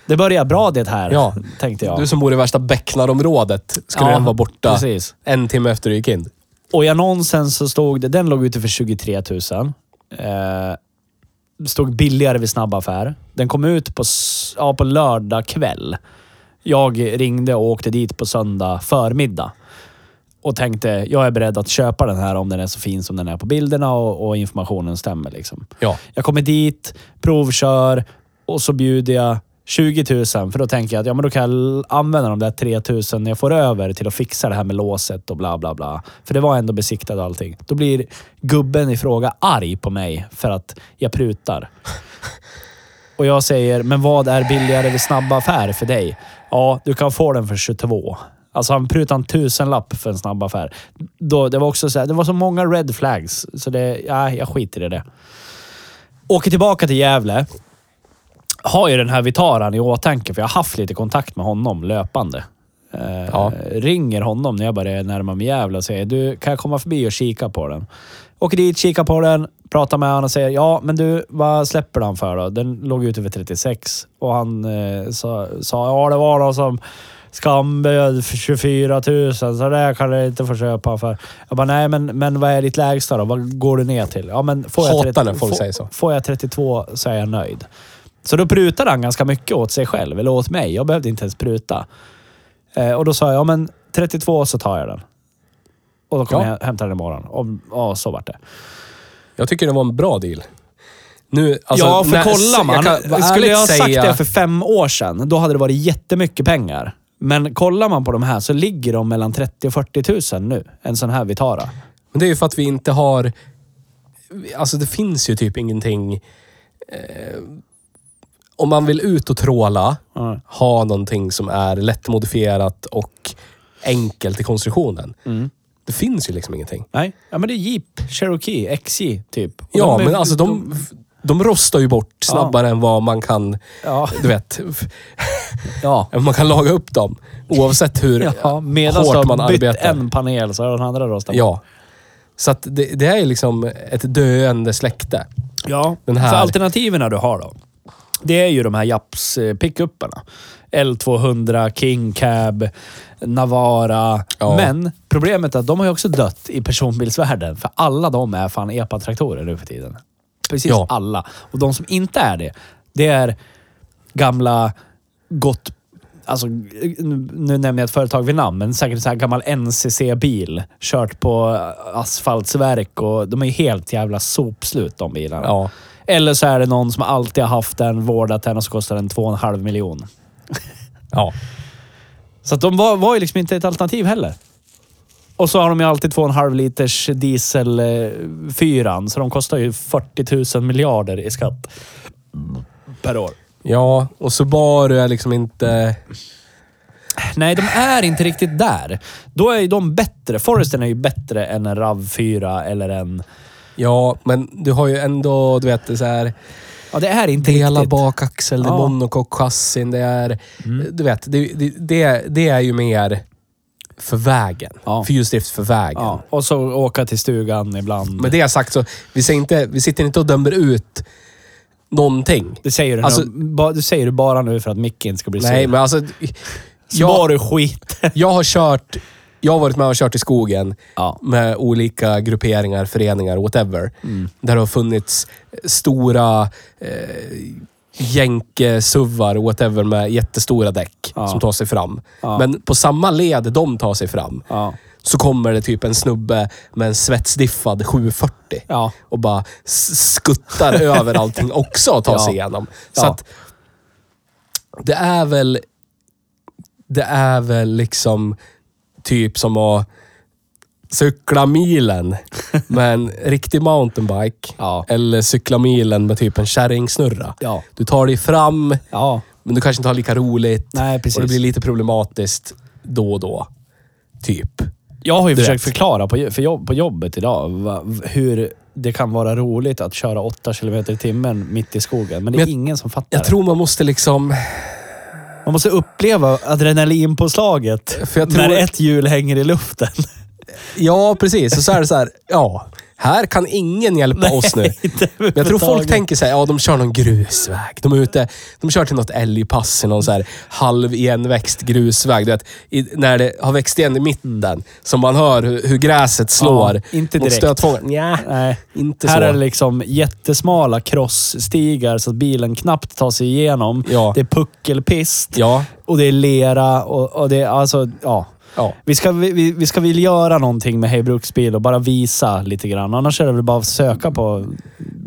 Speaker 1: det börjar bra det här,
Speaker 2: Ja.
Speaker 1: tänkte jag.
Speaker 2: Du som bor i värsta Bäcknarområdet, skulle
Speaker 1: Ja,
Speaker 2: den vara borta
Speaker 1: precis.
Speaker 2: en timme efter du gick in?
Speaker 1: Och i annonsen så stod det, den låg ute för 23 000. Eh, stod billigare vid snabbaffär. Den kom ut på, s- ja, på lördag kväll. Jag ringde och åkte dit på söndag förmiddag och tänkte jag är beredd att köpa den här om den är så fin som den är på bilderna och, och informationen stämmer. Liksom.
Speaker 2: Ja.
Speaker 1: Jag kommer dit, provkör och så bjuder jag 20 000 för då tänker jag att ja, men då kan jag l- använda de där 3 000 jag får över till att fixa det här med låset och bla bla bla. För det var ändå besiktat och allting. Då blir gubben i fråga arg på mig för att jag prutar. Och jag säger, men vad är billigare vid snabba affär för dig? Ja, du kan få den för 22. Alltså han prutade en tusenlapp för en snabb affär. Då, det var också så här, det var så många red flags, så det, ja, jag skiter i det. Åker tillbaka till Gävle. Har ju den här Vitaran i åtanke, för jag har haft lite kontakt med honom löpande. Eh,
Speaker 2: Ja.
Speaker 1: Ringer honom när jag börjar närma mig Gävle och säger du, kan jag komma förbi och kika på den? Åker dit, kikar på den, pratar med honom och säger ja, men du, vad släpper den för då? Den låg ute för 36 och han eh, sa, sa ja, det var någon som skamböd för 24 000 så det kan du inte få köpa för. Jag bara, nej, men, men vad är ditt lägsta då? Vad går du ner till? Ja, men får jag
Speaker 2: Hatar
Speaker 1: 30
Speaker 2: när folk
Speaker 1: får-
Speaker 2: säger så.
Speaker 1: Får jag 32 så är jag nöjd. Så då prutade han ganska mycket åt sig själv, eller åt mig. Jag behövde inte ens pruta. Eh, och då sa jag, ja men 32 så tar jag den. Och då kommer
Speaker 2: Ja.
Speaker 1: jag hämta den imorgon. Och, ja, så vart det.
Speaker 2: Jag tycker det var en bra deal. Nu, alltså,
Speaker 1: ja, för
Speaker 2: när-
Speaker 1: kolla man.
Speaker 2: Jag kan, vara
Speaker 1: Skulle
Speaker 2: ärligt
Speaker 1: jag ha sagt
Speaker 2: säga,
Speaker 1: det för fem år sedan, då hade det varit jättemycket pengar. Men kollar man på de här så ligger de mellan 30 000 och 40 000 nu. En sån här Vitara.
Speaker 2: Men det är ju för att vi inte har... Alltså det finns ju typ ingenting... Eh, om man vill ut och tråla,
Speaker 1: Ja.
Speaker 2: ha någonting som är lättmodifierat och enkelt i konstruktionen.
Speaker 1: Mm.
Speaker 2: Det finns ju liksom ingenting.
Speaker 1: Nej, ja, men det är Jeep, Cherokee, XJ typ. Och
Speaker 2: Ja,
Speaker 1: de är-
Speaker 2: men alltså de, de rostar ju bort snabbare än vad man kan...
Speaker 1: Ja.
Speaker 2: Du vet,
Speaker 1: Ja.
Speaker 2: man kan laga upp dem. Oavsett hur
Speaker 1: Ja, medan
Speaker 2: hårt
Speaker 1: du
Speaker 2: man
Speaker 1: har bytt
Speaker 2: arbetar.
Speaker 1: en panel så har den andra rostat.
Speaker 2: Ja. Så att det, det är liksom ett döende släkte.
Speaker 1: ja.
Speaker 2: Den här-
Speaker 1: För alternativen du har då, det är ju de här Japs eh, pickupparna. L200, King Cab, Navara.
Speaker 2: Ja.
Speaker 1: Men problemet är att de har ju också dött i personbilsvärlden. För alla de är fan EPA-traktorer nu för tiden. Precis
Speaker 2: Ja.
Speaker 1: alla. Och de som inte är det, det är gamla gott... Alltså, nu nu nämner jag ett företag vid namn, men säkert så här gammal NCC-bil. Kört på asfaltsverk och de är ju helt jävla sopslut de bilarna.
Speaker 2: Ja.
Speaker 1: Eller så är det någon som alltid har haft den, vårdat den och så kostar den 2,5 miljon.
Speaker 2: Ja.
Speaker 1: Så att de var, var ju liksom inte ett alternativ heller. Och så har de ju alltid 2,5 liters diesel eh, fyran, så de kostar ju 40 000 miljarder i skatt. Per år.
Speaker 2: Ja, och Subaru är liksom inte...
Speaker 1: Nej, de är inte riktigt där. Då är ju de bättre. Forresten är ju bättre än en RAV4 eller en...
Speaker 2: Ja, men du har ju ändå, du vet, det är så här...
Speaker 1: Ja, det är inte
Speaker 2: Delad
Speaker 1: riktigt.
Speaker 2: bakaxel, det är
Speaker 1: Ja. Mm.
Speaker 2: monokockchassin, det är... Du vet, det, det, det, det är ju mer för vägen.
Speaker 1: Ja.
Speaker 2: För just drift för vägen.
Speaker 1: Ja, och så åka till stugan ibland.
Speaker 2: Med det sagt så, vi, säger inte, vi sitter inte och dömer ut någonting.
Speaker 1: det säger du, nu-
Speaker 2: Alltså-
Speaker 1: ba, det säger du bara nu för att Micke inte ska bli
Speaker 2: Nej,
Speaker 1: sur.
Speaker 2: men alltså...
Speaker 1: Spar
Speaker 2: Jag,
Speaker 1: du skit.
Speaker 2: jag har kört... Jag har varit med och kört i skogen
Speaker 1: Ja.
Speaker 2: med olika grupperingar, föreningar, whatever.
Speaker 1: Mm.
Speaker 2: Där det har funnits stora eh, jänkesuvar, whatever, med jättestora däck
Speaker 1: Ja.
Speaker 2: som tar sig fram.
Speaker 1: Ja.
Speaker 2: Men på samma led de tar sig fram
Speaker 1: Ja.
Speaker 2: så kommer det typ en snubbe med en svetsdiffad 740
Speaker 1: Ja.
Speaker 2: och bara s- skuttar över allting också och tar
Speaker 1: Ja.
Speaker 2: sig igenom. Så
Speaker 1: Ja.
Speaker 2: att det är väl det är väl liksom typ som att cykla milen med en riktig mountainbike.
Speaker 1: Ja.
Speaker 2: Eller cykla milen med typ en kärringsnurra.
Speaker 1: Ja.
Speaker 2: Du tar dig fram,
Speaker 1: Ja.
Speaker 2: men du kanske inte har lika roligt.
Speaker 1: Nej, precis.
Speaker 2: Och det blir lite problematiskt då och då. Typ.
Speaker 1: Jag har ju
Speaker 2: Du
Speaker 1: försökt
Speaker 2: vet.
Speaker 1: förklara på, jo- för jobb, på jobbet idag va, v- hur det kan vara roligt att köra 8 kilometer i timmen mitt i skogen. Men det
Speaker 2: Men
Speaker 1: är
Speaker 2: jag-
Speaker 1: ingen som fattar.
Speaker 2: Jag tror man måste liksom...
Speaker 1: det. Man måste uppleva adrenalinpåslaget
Speaker 2: För jag
Speaker 1: när
Speaker 2: tror-
Speaker 1: ett hjul hänger i luften.
Speaker 2: Ja, precis. Och så är det så här, ja. Här kan ingen hjälpa oss nu.
Speaker 1: inte
Speaker 2: Men jag tror folk
Speaker 1: överhuvudtaget.
Speaker 2: tänker så här, ja de kör någon grusväg. De är ute, de kör till något älgpass i någon så här halv igenväxt grusväg. Du vet, i, när det har växt igen i mitten. Som man hör hur, hur gräset slår
Speaker 1: Ja, inte
Speaker 2: mot
Speaker 1: direkt.
Speaker 2: stötfångaren. Nja,
Speaker 1: Nej.
Speaker 2: inte
Speaker 1: här
Speaker 2: så.
Speaker 1: är det liksom jättesmala krossstigar så att bilen knappt tar sig igenom.
Speaker 2: Ja.
Speaker 1: Det är puckelpist
Speaker 2: Ja.
Speaker 1: och det är lera och, och det är alltså, ja.
Speaker 2: Ja.
Speaker 1: Vi ska, vi, vi- vi ska väl göra någonting med Hej Bruksbil och bara visa lite grann. Annars är det väl bara att söka på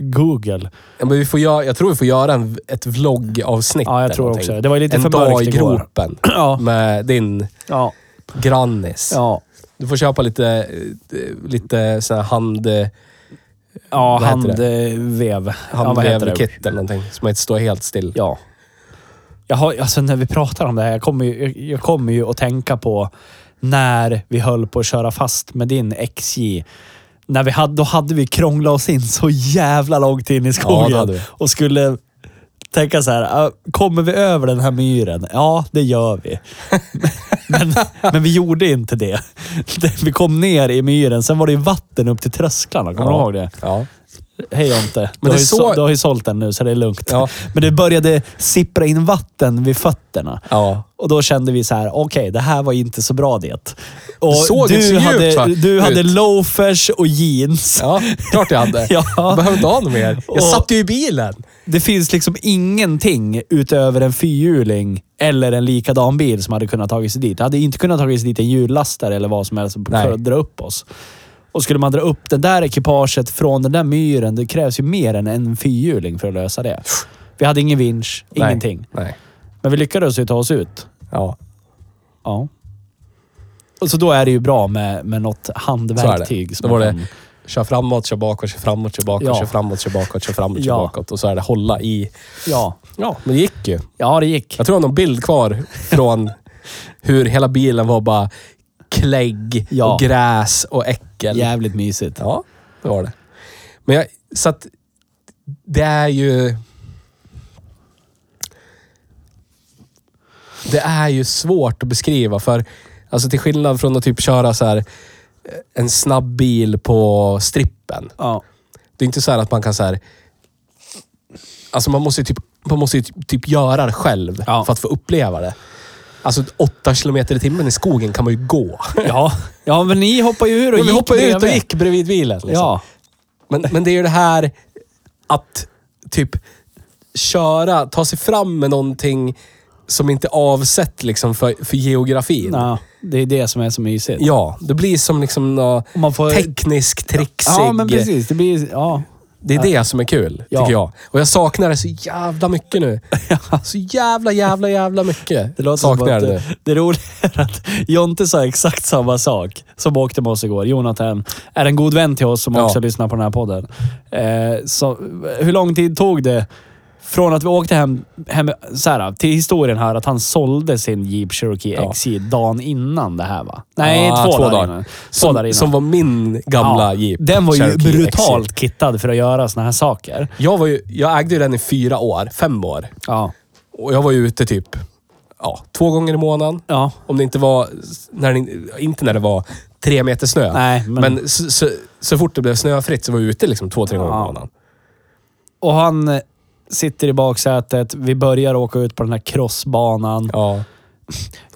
Speaker 1: Google.
Speaker 2: Ja, men vi får göra, jag tror vi får göra en, ett vloggavsnitt.
Speaker 1: Ja, jag
Speaker 2: eller
Speaker 1: tror
Speaker 2: någonting.
Speaker 1: också det. Det var ju lite
Speaker 2: En
Speaker 1: för
Speaker 2: dag i
Speaker 1: mörkt igår.
Speaker 2: gropen.
Speaker 1: Ja.
Speaker 2: Med din
Speaker 1: Ja.
Speaker 2: grannis.
Speaker 1: Ja.
Speaker 2: Du får köpa lite, eh, lite sån här hand... eh,
Speaker 1: Ja,
Speaker 2: Vad heter
Speaker 1: handvev. Ja, vad heter det?
Speaker 2: handvävkit eller någonting. Så man inte står helt still.
Speaker 1: Ja. Jag har, alltså när vi pratar om det här, jag kommer, ju, jag- jag kommer ju att tänka på när vi höll på att köra fast med din XJ. När vi hade, då hade vi krånglat oss in så jävla långt in i skogen.
Speaker 2: hade vi.
Speaker 1: och skulle tänka så här, "Ah, kommer vi över den här myren? Ja, det gör vi. men, men vi gjorde inte det. Vi kom ner i myren, sen var det ju vatten upp till trösklarna. Kommer du ihåg det?
Speaker 2: Ja.
Speaker 1: Hej Jonte. Du,
Speaker 2: Men det
Speaker 1: har ju
Speaker 2: så-
Speaker 1: så... du har ju sålt den nu så det är lugnt.
Speaker 2: Ja.
Speaker 1: Men det började sippra in vatten vid fötterna.
Speaker 2: ja.
Speaker 1: Och då kände vi så här, okej, det här var inte så bra det. Och
Speaker 2: såg inte så
Speaker 1: du
Speaker 2: djupt, va?
Speaker 1: hade, du
Speaker 2: Ut.
Speaker 1: hade loafers och jeans.
Speaker 2: Ja, klart jag hade.
Speaker 1: Ja.
Speaker 2: Jag behöver inte ha något mer. Jag
Speaker 1: Och-
Speaker 2: satt ju i bilen.
Speaker 1: Det finns liksom ingenting utöver en fyrhjuling eller en likadan bil som hade kunnat tagit sig dit. Det hade inte kunnat tagit sig dit en hjullastare eller vad som helst
Speaker 2: Nej.
Speaker 1: för att dra upp oss. Och skulle man dra upp det där ekipaget från den där myren, det krävs ju mer än en fyrhjuling för att lösa det. Vi hade ingen vinsch,
Speaker 2: Nej.
Speaker 1: ingenting.
Speaker 2: Nej.
Speaker 1: Men vi lyckades ju ta oss ut.
Speaker 2: Ja.
Speaker 1: Ja. Och så då är det ju bra med, med något
Speaker 2: Så är det.
Speaker 1: handverktyg. som
Speaker 2: Då var
Speaker 1: man
Speaker 2: det
Speaker 1: kan-
Speaker 2: kör framåt, kör bakåt, kör framåt, kör bakåt,
Speaker 1: Ja.
Speaker 2: kör framåt, kör bakåt, kör framåt, kör
Speaker 1: Ja.
Speaker 2: bakåt. Och så är det hålla i.
Speaker 1: Ja.
Speaker 2: Ja, men det gick ju.
Speaker 1: ja, det gick.
Speaker 2: Jag tror jag har någon bild kvar från hur hela bilen var bara klägg
Speaker 1: Ja.
Speaker 2: och gräs och äckel.
Speaker 1: Jävligt mysigt.
Speaker 2: Ja, det var det. Men jag, så att det är ju... Det är ju svårt att beskriva för, alltså till skillnad från att typ köra så här eh, en snabb bil på strippen.
Speaker 1: Ja.
Speaker 2: Det är inte så här att man kan så här... Alltså man måste ju typ, man måste ju typ, typ göra det själv
Speaker 1: Ja.
Speaker 2: för att få uppleva det. Alltså åtta kilometer i timmen i skogen kan man ju gå.
Speaker 1: Ja, ja men ni hoppar ju ur och
Speaker 2: Men vi
Speaker 1: gick
Speaker 2: hoppade ut och
Speaker 1: bredvid.
Speaker 2: gick bredvid bilen. Liksom.
Speaker 1: Ja.
Speaker 2: Men, men det är ju det här att typ köra, ta sig fram med någonting som inte är avsett liksom för, för geografin.
Speaker 1: ja, det är det som är så mysigt.
Speaker 2: Ja, det blir som liksom nå
Speaker 1: Och Man får...
Speaker 2: teknisk, trixig...
Speaker 1: Ja, men precis. Det blir... Ja.
Speaker 2: Det är det som är kul,
Speaker 1: Ja.
Speaker 2: tycker jag. Och jag saknar det så jävla mycket nu. Så jävla, jävla, jävla mycket.
Speaker 1: Det låter
Speaker 2: saknar jag
Speaker 1: som
Speaker 2: det
Speaker 1: att,
Speaker 2: nu.
Speaker 1: det, det roliga är att Jonte sa exakt samma sak som åkte med oss igår. Jonathan är en god vän till oss som
Speaker 2: Ja.
Speaker 1: också lyssnar på den här podden. Eh, så, hur lång tid tog det från att vi åkte hem, hem så här, till historien här att han sålde sin Jeep Cherokee
Speaker 2: Ja.
Speaker 1: XJ dagen innan det här va? Nej,
Speaker 2: Ah,
Speaker 1: två,
Speaker 2: två
Speaker 1: dagar,
Speaker 2: dagar.
Speaker 1: innan. Två dagar
Speaker 2: Som,
Speaker 1: innan.
Speaker 2: som var min gamla Jeep.
Speaker 1: Den var ju
Speaker 2: Cherokee XJ.
Speaker 1: brutalt kittad för att göra såna här saker.
Speaker 2: Jag, var ju, jag ägde ju den i fyra år, fem år.
Speaker 1: Ja.
Speaker 2: Och jag var ju ute typ ja, två gånger i månaden.
Speaker 1: Ja.
Speaker 2: Om det inte var, när det, inte när det var tre meter snö.
Speaker 1: Nej, men-
Speaker 2: men så, så, så fort det blev snöfritt så var vi ute liksom två, tre gånger i
Speaker 1: Ja.
Speaker 2: månaden.
Speaker 1: Och han eh, sitter i baksätet. Vi börjar åka ut på den här crossbanan.
Speaker 2: Ja.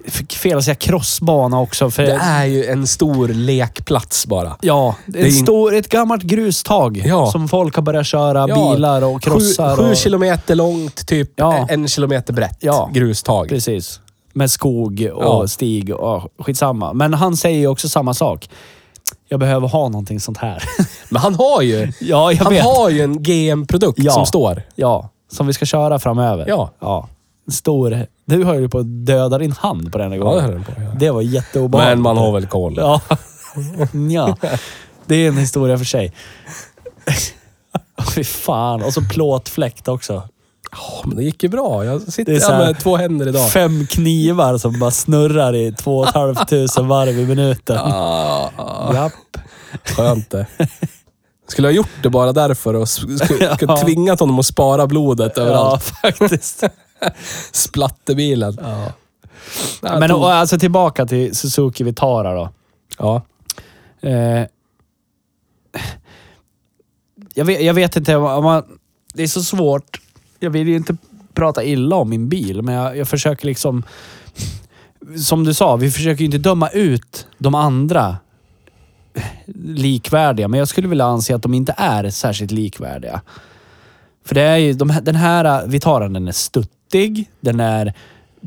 Speaker 1: F- Fel att säga crossbana också. För,
Speaker 2: Det är ju en stor lekplats bara.
Speaker 1: Eh, Ja, det är
Speaker 2: det är
Speaker 1: en
Speaker 2: in-
Speaker 1: stor, ett gammalt grustag
Speaker 2: Ja.
Speaker 1: som folk har börjat köra
Speaker 2: Ja,
Speaker 1: bilar och krossar.
Speaker 2: Sju, sju
Speaker 1: och,
Speaker 2: kilometer långt, typ
Speaker 1: Ja.
Speaker 2: en kilometer brett
Speaker 1: Ja.
Speaker 2: grustag.
Speaker 1: Precis. Med skog och
Speaker 2: Ja.
Speaker 1: stig och skitsamma. Men han säger ju också samma sak. Jag behöver ha någonting sånt här.
Speaker 2: Men han har ju,
Speaker 1: ja, jag
Speaker 2: han
Speaker 1: vet.
Speaker 2: har ju en GM-produkt
Speaker 1: Ja.
Speaker 2: som står.
Speaker 1: Ja, som vi ska köra framöver.
Speaker 2: Ja.
Speaker 1: ja. En Stor... Du höll ju på att döda din hand på den igår.
Speaker 2: Ja, det höll den på att göra.
Speaker 1: Det var jätteobehagligt.
Speaker 2: Men man har väl koll.
Speaker 1: Ja. ja. Det är en historia för sig. Åh, Fy fan. Och så plåtfläkt också.
Speaker 2: Ja, men det gick ju bra. Jag sitter
Speaker 1: Det är så
Speaker 2: här
Speaker 1: här-
Speaker 2: med två händer idag.
Speaker 1: Fem knivar som bara snurrar i två och ett halvt tusen varv i minuten.
Speaker 2: Ah, ah,
Speaker 1: Japp.
Speaker 2: skönt det. Skulle jag gjort det bara därför och sk- sk-
Speaker 1: Ja.
Speaker 2: sk- tvingat honom att spara blodet
Speaker 1: Ja,
Speaker 2: överallt.
Speaker 1: faktiskt.
Speaker 2: Splatterbilen.
Speaker 1: Ja.
Speaker 2: Nej,
Speaker 1: Men
Speaker 2: tog-
Speaker 1: och, alltså tillbaka till Suzuki Vitara då.
Speaker 2: ja.
Speaker 1: Eh, Jag vet, jag vet inte. Om man, det är så svårt. Jag vill ju inte prata illa om min bil, men jag, jag försöker liksom... Som du sa, vi försöker ju inte döma ut de andra likvärdiga, men jag skulle vilja anse att de inte är särskilt likvärdiga. För det är ju, de, här- den här Vitaren, den är stuttig. Den är,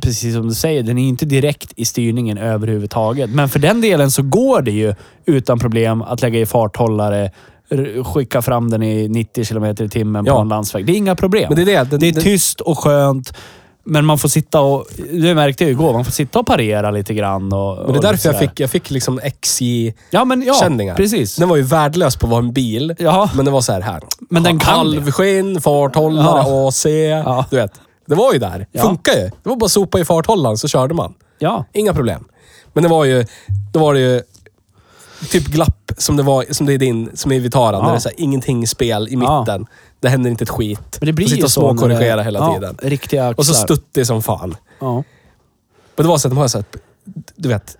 Speaker 1: precis som du säger, den är inte direkt i styrningen överhuvudtaget. Men för den delen så går det ju utan problem att lägga i farthållare, r- skicka fram den i 90 kilometer i timmen på
Speaker 2: Ja.
Speaker 1: en landsväg. Det är inga problem.
Speaker 2: Men det är det. Den-
Speaker 1: det är
Speaker 2: den-
Speaker 1: tyst och skönt. Men man får sitta och... Det märkte jag ju igår. Man får sitta och parera lite grann. Och,
Speaker 2: Men det är
Speaker 1: och
Speaker 2: därför jag
Speaker 1: sådär.
Speaker 2: fick, jag fick liksom XJ-känningar.
Speaker 1: Ja, men ja. Precis.
Speaker 2: Den var ju värdelös på att vara en bil.
Speaker 1: Ja.
Speaker 2: Men det var så här. här.
Speaker 1: Men den kan det.
Speaker 2: Kalvskinn, farthållare,
Speaker 1: Ja.
Speaker 2: AC. Du vet. Det var ju där.
Speaker 1: Ja.
Speaker 2: Funkar ju. Det var bara att sopa i farthållaren så körde man.
Speaker 1: Ja.
Speaker 2: Inga problem. Men det var ju... Då var det ju typ glapp som det, var, som det är din, som är i Vitaran.
Speaker 1: Ja.
Speaker 2: Där det är så här, ingenting spel i
Speaker 1: Ja.
Speaker 2: mitten. Det händer inte ett skit.
Speaker 1: Men det blir
Speaker 2: och sitta
Speaker 1: ju
Speaker 2: och
Speaker 1: så. när det-
Speaker 2: småkorrigera hela
Speaker 1: ja,
Speaker 2: tiden.
Speaker 1: Riktiga axlar.
Speaker 2: Och så stuttig som fan.
Speaker 1: Ja.
Speaker 2: Men det var så att de har så här, du vet,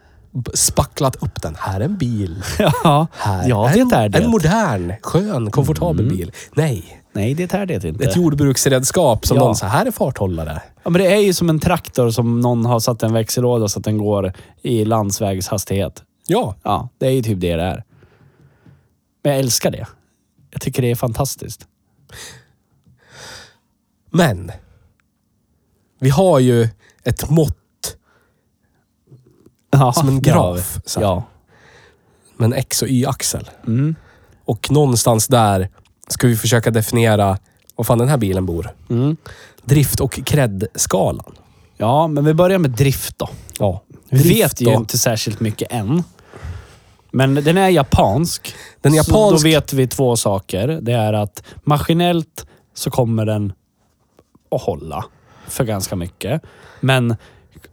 Speaker 2: spacklat upp den. Här är en bil.
Speaker 1: Ja,
Speaker 2: Här
Speaker 1: ja
Speaker 2: är en,
Speaker 1: det är det.
Speaker 2: en modern, skön, komfortabel
Speaker 1: Mm.
Speaker 2: bil. Nej,
Speaker 1: Nej, det är det inte.
Speaker 2: ett jordbruksredskap som
Speaker 1: Eh. Ja.
Speaker 2: någon sa, här är farthållare.
Speaker 1: Ja, men det är ju som en traktor som någon har satt en växellåda så att den går i landsvägshastighet.
Speaker 2: Ja,
Speaker 1: Ja, det är ju typ det det är. Men jag älskar det. Jag tycker det är fantastiskt.
Speaker 2: men vi har ju ett mått,
Speaker 1: Ja,
Speaker 2: Som en graf,
Speaker 1: Ja.
Speaker 2: så här.
Speaker 1: Ja.
Speaker 2: med en X och Y-axel.
Speaker 1: Mm.
Speaker 2: Och någonstans där ska vi försöka definiera var fan den här bilen bor.
Speaker 1: Mm.
Speaker 2: Drift och cred-skalan.
Speaker 1: ja, men vi börjar med drift då.
Speaker 2: Ja.
Speaker 1: Vi
Speaker 2: Drift
Speaker 1: vet ju
Speaker 2: då.
Speaker 1: inte särskilt mycket än. Men den är japansk.
Speaker 2: Den är
Speaker 1: Så då
Speaker 2: japansk.
Speaker 1: vet vi två saker. Det är att maskinellt så kommer den att hålla för ganska mycket. Men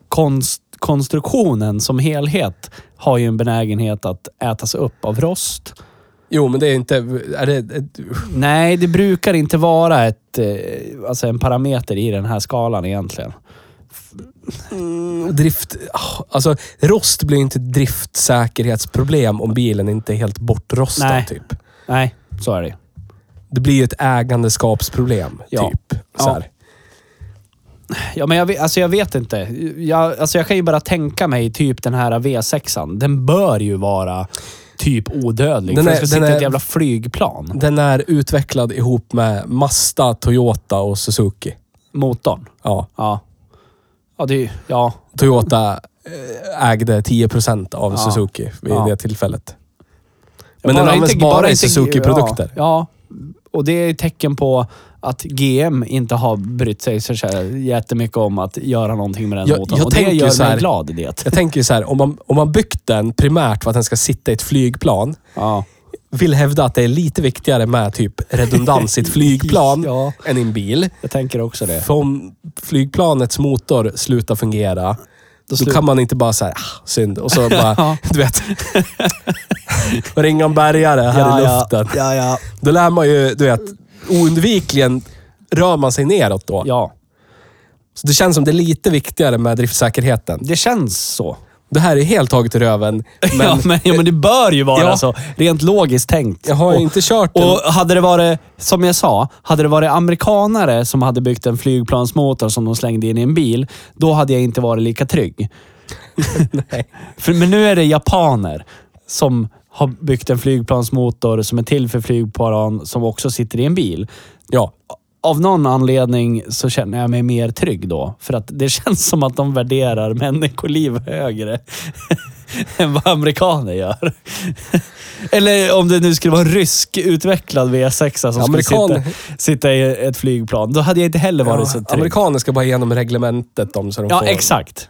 Speaker 1: konst, konstruktionen som helhet har ju en benägenhet att ätas upp av rost.
Speaker 2: Jo, men det är inte... Är det,
Speaker 1: Nej, det brukar inte vara ett, eh, alltså en parameter i den här skalan egentligen.
Speaker 2: drift... ah, Alltså, rost blir inte ett driftsäkerhetsproblem om bilen inte är helt bortrostad,
Speaker 1: Nej.
Speaker 2: typ.
Speaker 1: Nej, så är det.
Speaker 2: Det blir ju ett ägandeskapsproblem,
Speaker 1: Ja.
Speaker 2: typ. Så
Speaker 1: Ja.
Speaker 2: här.
Speaker 1: Ja, men jag, vet- alltså jag vet inte. Jag, alltså jag kan ju bara tänka mig typ den här V6an. Den bör ju vara typ odödlig.
Speaker 2: Den
Speaker 1: Den för
Speaker 2: är-
Speaker 1: den ska
Speaker 2: den
Speaker 1: sitta i ett
Speaker 2: är-
Speaker 1: jävla flygplan.
Speaker 2: Den är utvecklad ihop med Mazda, Toyota och Suzuki.
Speaker 1: Motorn.
Speaker 2: Ja.
Speaker 1: Ja. Ja, det är ju- Ja.
Speaker 2: Toyota eh, ägde 10% av
Speaker 1: Ja.
Speaker 2: Suzuki vid
Speaker 1: Ja.
Speaker 2: det tillfället. Men
Speaker 1: Jag
Speaker 2: den används
Speaker 1: inte-
Speaker 2: bara, i
Speaker 1: inte-
Speaker 2: Suzuki-produkter.
Speaker 1: Ja, ja. Och det är ett tecken på att GM inte har brytt sig så här jättemycket om att göra någonting med den
Speaker 2: Jag-
Speaker 1: motorn.
Speaker 2: jag
Speaker 1: Och det
Speaker 2: tänker ju
Speaker 1: gör
Speaker 2: så här-
Speaker 1: mig glad i det.
Speaker 2: Jag tänker ju så här, om man, om man byggt den primärt för att den ska sitta i ett flygplan,
Speaker 1: Ja.
Speaker 2: vill hävda att det är lite viktigare med typ redundans i ett flygplan
Speaker 1: Ja.
Speaker 2: än i en bil.
Speaker 1: Jag tänker också det.
Speaker 2: För om flygplanets motor slutar fungera, då,
Speaker 1: slut-
Speaker 2: kan man inte bara säga ah, synd. Och så bara,
Speaker 1: Ja.
Speaker 2: du vet. och ringa en bärgare här i luften.
Speaker 1: Ja, ja.
Speaker 2: Då lär man ju, du vet, oundvikligen rör man sig neråt då.
Speaker 1: ja,
Speaker 2: Så det känns som det är lite viktigare med driftsäkerheten.
Speaker 1: det känns så.
Speaker 2: Det här är helt taget ur röven, men
Speaker 1: ja, men, ja, men det bör ju vara
Speaker 2: Ja.
Speaker 1: så. Rent logiskt tänkt.
Speaker 2: jag har ju inte kört den.
Speaker 1: Och hade det varit, som jag sa, hade det varit amerikanare som hade byggt en flygplansmotor som de slängde in i en bil, då hade jag inte varit lika trygg. För, men nu är det japaner som har byggt en flygplansmotor som är till för flygplan som också sitter i en bil.
Speaker 2: Ja.
Speaker 1: Av någon anledning så känner jag mig mer trygg då. För att det känns som att de värderar människoliv högre än vad amerikaner gör. Eller om det nu skulle vara en rysk utvecklad V6 som alltså, skulle
Speaker 2: Amerikan-
Speaker 1: sitta, sitta i ett flygplan. Då hade jag inte heller varit så
Speaker 2: Ja,
Speaker 1: trygg.
Speaker 2: amerikaner ska bara igenom reglementet om så de
Speaker 1: ja,
Speaker 2: får
Speaker 1: exakt.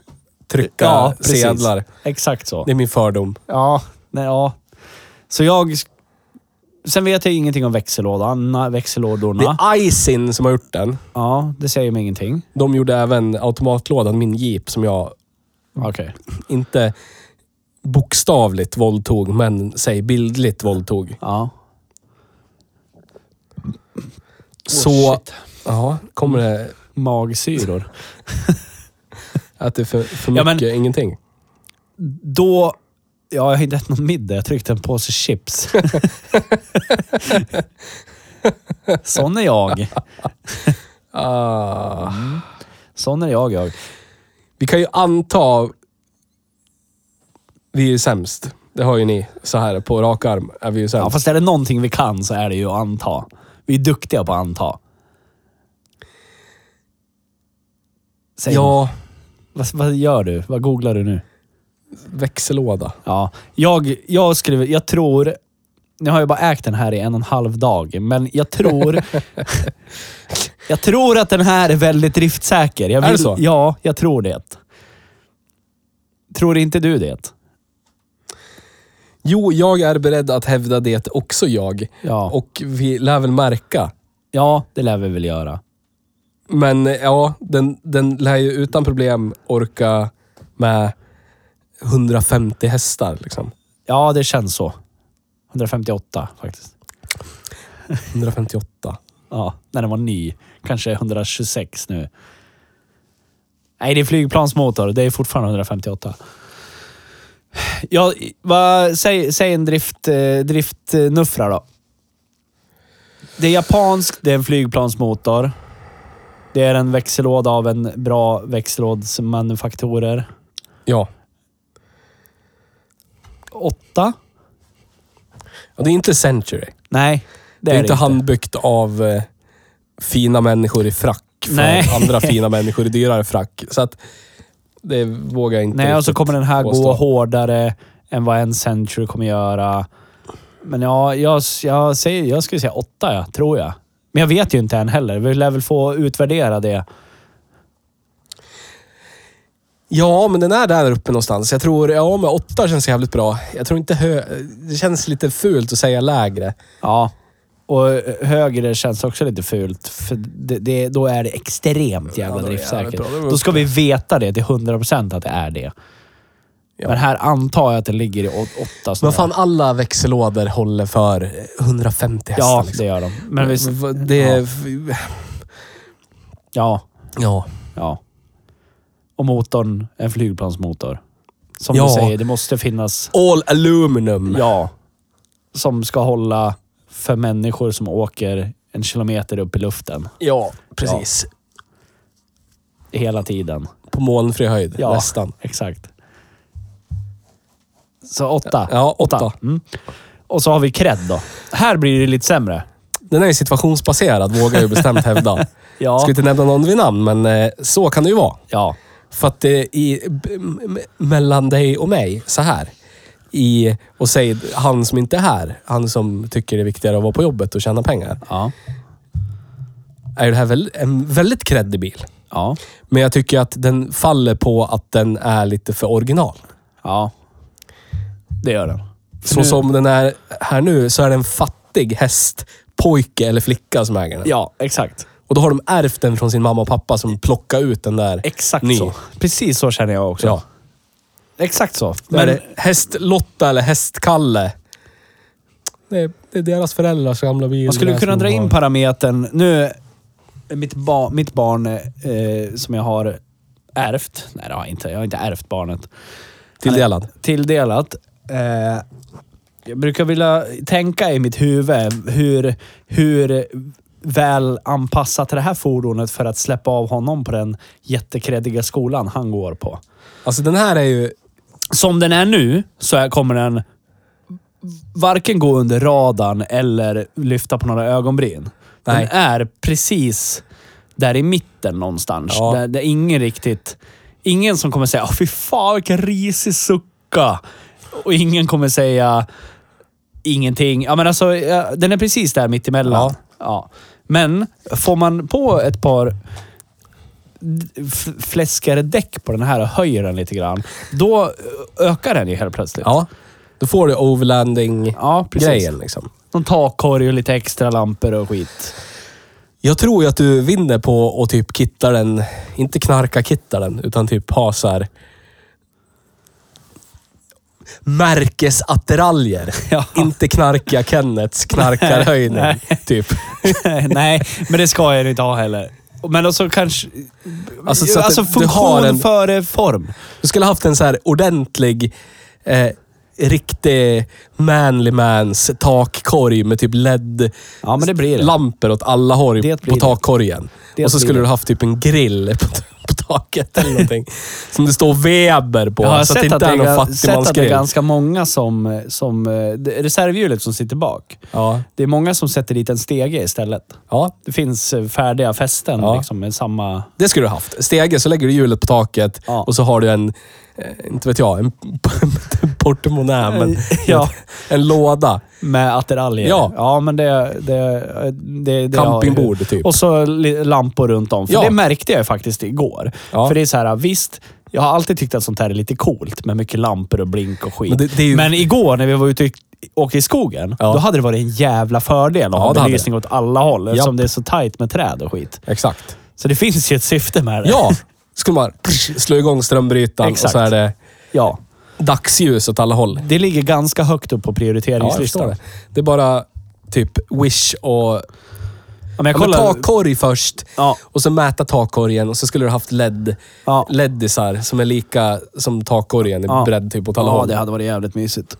Speaker 2: trycka
Speaker 1: Ja, precis.
Speaker 2: sedlar.
Speaker 1: Exakt så.
Speaker 2: Det är min fördom.
Speaker 1: Ja, nej, ja. Så jag... Sen vet jag ingenting om växellådan, växellådorna.
Speaker 2: Det är Icin som har gjort den.
Speaker 1: Ja, det säger mig ingenting.
Speaker 2: De gjorde även automatlådan, min jeep, som jag
Speaker 1: Okej.
Speaker 2: inte bokstavligt våldtog, men säg bildligt våldtog.
Speaker 1: Ja.
Speaker 2: Så... Ja, kommer det
Speaker 1: Magsyror.
Speaker 2: att det är för, för
Speaker 1: Ja,
Speaker 2: mycket
Speaker 1: men-
Speaker 2: ingenting?
Speaker 1: Då... Ja, jag har inte ätit någon middag. Jag tryckte en påse chips. Sån är jag.
Speaker 2: Ah.
Speaker 1: Sån är jag, jag.
Speaker 2: Vi kan ju anta... Vi är sämst. Det har ju ni. Så här på rak arm är vi ju sämst.
Speaker 1: Ja, fast är det någonting vi kan så är det ju att anta. Vi är duktiga på att anta. Säg,
Speaker 2: ja
Speaker 1: vad, vad gör du? Vad googlar du nu?
Speaker 2: växellåda.
Speaker 1: Ja, jag, jag skulle, jag tror, nu har jag bara ägt den här i en och en halv dag, men jag tror, jag tror att den här är väldigt driftsäker. Jag
Speaker 2: Är det så?
Speaker 1: Ja, jag tror det. Tror inte du det?
Speaker 2: Jo, jag är beredd att hävda det också jag.
Speaker 1: Ja,
Speaker 2: Och vi lär väl märka.
Speaker 1: ja det lär vi väl göra.
Speaker 2: Men eh, ja, den, den lär ju utan problem orka med 150 hästar. Liksom.
Speaker 1: Ja, det känns så. 158 faktiskt.
Speaker 2: 158.
Speaker 1: Ja, när den var ny. Kanske 126 nu. Nej, det är flygplansmotor. Det är fortfarande 158. Ja, vad, säg, säg en drift, eh, driftnuffra då. Det är japanskt, det är en flygplansmotor. Det är en växellåda av en bra växellådsmanufaktorer.
Speaker 2: Ja.
Speaker 1: Åtta?
Speaker 2: ja. Det är inte Century.
Speaker 1: Nej,
Speaker 2: Det är, inte handbyggt av eh, fina människor i frack. För
Speaker 1: Nej.
Speaker 2: andra fina människor i dyrare frack. Så att det vågar jag inte
Speaker 1: Nej, alltså och så
Speaker 2: riktigt
Speaker 1: kommer den här
Speaker 2: påstå.
Speaker 1: gå hårdare än vad en Century kommer göra. Men ja, jag, jag, säger, jag skulle säga åtta, ja, tror jag. Men jag vet ju inte än heller. Vi lär väl få utvärdera det.
Speaker 2: Ja, men den är där uppe någonstans. Jag tror, ja men åtta känns jävligt bra. Jag tror inte hö... Det känns lite fult att säga lägre.
Speaker 1: Ja. Och högre känns också lite fult, för det, det, då är det extremt jävla
Speaker 2: Ja, då är det jävligt
Speaker 1: driftsäkert.
Speaker 2: bra. Då är vi
Speaker 1: Då ska vi veta det till 100% att det är det.
Speaker 2: Ja.
Speaker 1: Men här antar jag att det ligger i å- åtta
Speaker 2: Men
Speaker 1: snarare.
Speaker 2: fan, alla växellådor håller för 150 hästar.
Speaker 1: Ja,
Speaker 2: liksom.
Speaker 1: det gör de. Men visst,
Speaker 2: V- det är... Ja.
Speaker 1: ja.
Speaker 2: ja.
Speaker 1: Ja. Och motorn, en flygplansmotor. Som
Speaker 2: Ja.
Speaker 1: du säger, det måste finnas...
Speaker 2: All aluminum.
Speaker 1: Ja. Som ska hålla för människor som åker en kilometer upp i luften
Speaker 2: Ja, precis.
Speaker 1: hela tiden.
Speaker 2: På molnfri höjd,
Speaker 1: Ja,
Speaker 2: nästan.
Speaker 1: exakt. Så åtta.
Speaker 2: Ja, åtta.
Speaker 1: Mm. Och så har vi cred då. Här blir det lite sämre.
Speaker 2: Den är ju situationsbaserad, vågar jag ju bestämt hävda.
Speaker 1: Ja.
Speaker 2: Ska inte nämna någon vid namn, men eh, så kan det ju vara.
Speaker 1: Ja.
Speaker 2: För att det är i, b- m- mellan dig och mig, så här. I, och säg han som inte är här, han som tycker det är viktigare att vara på jobbet och tjäna pengar.
Speaker 1: Ja.
Speaker 2: Är ju det här väl, en väldigt kreddig bil.
Speaker 1: Ja.
Speaker 2: Men jag tycker att den faller på att den är lite för original.
Speaker 1: Ja. Det gör den.
Speaker 2: Så som den är här nu så är det en fattig häst, pojke eller flicka som äger den.
Speaker 1: Ja, exakt.
Speaker 2: Och då har de ärvt den från sin mamma och pappa som plockade ut den där.
Speaker 1: Exakt
Speaker 2: ny.
Speaker 1: så. Precis så känner jag också.
Speaker 2: Ja.
Speaker 1: Exakt så.
Speaker 2: Men, är
Speaker 1: Men,
Speaker 2: det hästlotta eller hästkalle? Det är, det är deras föräldrars gamla bil.
Speaker 1: man skulle
Speaker 2: Det är
Speaker 1: kunna
Speaker 2: som
Speaker 1: dra
Speaker 2: de
Speaker 1: in
Speaker 2: har.
Speaker 1: parametern. Nu, mitt, ba, mitt barn eh, som jag har ärvt. Nej, det har jag inte. Jag har inte ärvt barnet.
Speaker 2: Tilldelad.
Speaker 1: Tilldelat. Eh, jag brukar vilja tänka i mitt huvud hur, hur väl anpassat är det här fordonet för att släppa av honom på den jättekreddiga skolan han går på.
Speaker 2: Alltså den här är ju...
Speaker 1: som den är nu så är- kommer den varken gå under radarn eller lyfta på några ögonbryn.
Speaker 2: Nej.
Speaker 1: Den är precis där i mitten någonstans.
Speaker 2: Ja.
Speaker 1: Där, där ingen riktigt... Ingen som kommer säga Åh, fy fan vilken risig sucka. Och ingen kommer säga ingenting. Ja, men alltså, ja, den är precis där mittemellan. Ja. Ja. Men får man på ett par f- fläskare däck på den här och höjer den lite grann, då eh, ökar den ju helt plötsligt.
Speaker 2: Ja. Då får du overlanding-grejen
Speaker 1: Ja, precis.
Speaker 2: liksom.
Speaker 1: Någon takkorg och lite extra lampor och skit.
Speaker 2: Jag tror ju att du vinner på att typ kitta den. Inte knarka kitta den, utan typ ha så här... Märkesattiraljer.
Speaker 1: Ja.
Speaker 2: Inte knarka Kennets knarkarhöjden. typ.
Speaker 1: Nej, men det ska jag ju inte ha heller. Men också kanske...
Speaker 2: Alltså,
Speaker 1: Alltså,
Speaker 2: så att det- du
Speaker 1: funktion
Speaker 2: har en-
Speaker 1: före form.
Speaker 2: Du skulle haft en så här ordentlig eh, riktig manly mans takkorg med typ LED
Speaker 1: Ja, men det blir det.
Speaker 2: lampor åt alla håll
Speaker 1: Det blir
Speaker 2: på
Speaker 1: det.
Speaker 2: takkorgen.
Speaker 1: Det
Speaker 2: och så
Speaker 1: blir
Speaker 2: skulle
Speaker 1: det.
Speaker 2: du haft typ en grill på, på taket eller någonting. som det står Weber på.
Speaker 1: Jag har
Speaker 2: så att
Speaker 1: sett
Speaker 2: det
Speaker 1: att det
Speaker 2: inte är någon
Speaker 1: är- sett att det är
Speaker 2: fattigmansgrill.
Speaker 1: ganska många som... som eh, det är reservhjulet som sitter bak.
Speaker 2: Ja.
Speaker 1: Det är många som sätter dit en stege istället.
Speaker 2: ja,
Speaker 1: Det finns eh, färdiga fästen
Speaker 2: Ja.
Speaker 1: liksom, med samma...
Speaker 2: det skulle du haft. Stege, så lägger du hjulet på taket
Speaker 1: Ja.
Speaker 2: och så har du en, eh, inte vet jag, en portmonnä, men
Speaker 1: Ja.
Speaker 2: en låda.
Speaker 1: Med attiraljer.
Speaker 2: Ja.
Speaker 1: ja, men det... det, det, det
Speaker 2: Campingbord, typ.
Speaker 1: Och så li- lampor runt om. För
Speaker 2: Ja.
Speaker 1: det märkte jag faktiskt igår.
Speaker 2: Ja.
Speaker 1: För det är så här, visst, jag har alltid tyckt att sånt här är lite coolt med mycket lampor och blink och skit.
Speaker 2: Men
Speaker 1: Men,
Speaker 2: det- det är ju-
Speaker 1: igår när vi var ute och åkte i skogen,
Speaker 2: Ja.
Speaker 1: då hade det varit en jävla fördel att
Speaker 2: det
Speaker 1: ha
Speaker 2: hade
Speaker 1: belysning åt alla håll eftersom
Speaker 2: Japp.
Speaker 1: det är så tajt med träd och skit.
Speaker 2: Exakt.
Speaker 1: Så det finns ju ett syfte med det.
Speaker 2: Ja! Skulle man slå igång strömbrytaren och
Speaker 1: Exakt.
Speaker 2: så är det
Speaker 1: ja.
Speaker 2: dagsljus åt alla håll.
Speaker 1: Det ligger ganska högt upp på
Speaker 2: Ja, jag förstår
Speaker 1: prioriteringslistan.
Speaker 2: det. Det är bara typ Wish och...
Speaker 1: Ja, men jag
Speaker 2: Ja, men
Speaker 1: kollar...
Speaker 2: takkorg först.
Speaker 1: Ja.
Speaker 2: Och så mäta takkorgen och så skulle du haft LED.
Speaker 1: Ja.
Speaker 2: Leddisar som är lika som takkorgen i
Speaker 1: Ja.
Speaker 2: bredd typ åt alla
Speaker 1: ja,
Speaker 2: håll.
Speaker 1: det hade varit jävligt mysigt.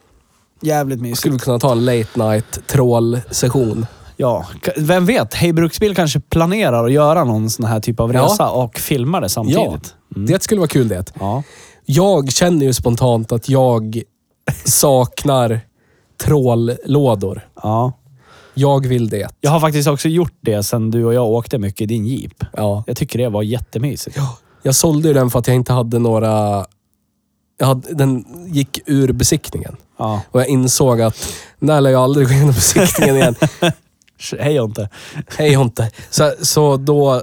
Speaker 1: Jävligt mysigt.
Speaker 2: Skulle vi kunna ta en late night trål-session?
Speaker 1: Ja, k- vem vet? Hej Bruksbil kanske planerar att göra någon sån här typ av
Speaker 2: Ja.
Speaker 1: resa och filmar det
Speaker 2: Ja,
Speaker 1: samtidigt. Mm.
Speaker 2: det skulle vara kul det.
Speaker 1: Ja.
Speaker 2: Jag känner ju spontant att jag saknar trållådor.
Speaker 1: ja.
Speaker 2: Jag vill det.
Speaker 1: Jag har faktiskt också gjort det sen du och jag åkte mycket i din jeep.
Speaker 2: Ja.
Speaker 1: Jag tycker det var jättemysigt.
Speaker 2: Jag sålde ju den för att jag inte hade några... Jag hade, den gick ur besiktningen.
Speaker 1: Ja.
Speaker 2: Och jag insåg att när lär jag aldrig gå igenom besiktningen igen.
Speaker 1: Hej Jonte.
Speaker 2: Hej Jonte. Så, så då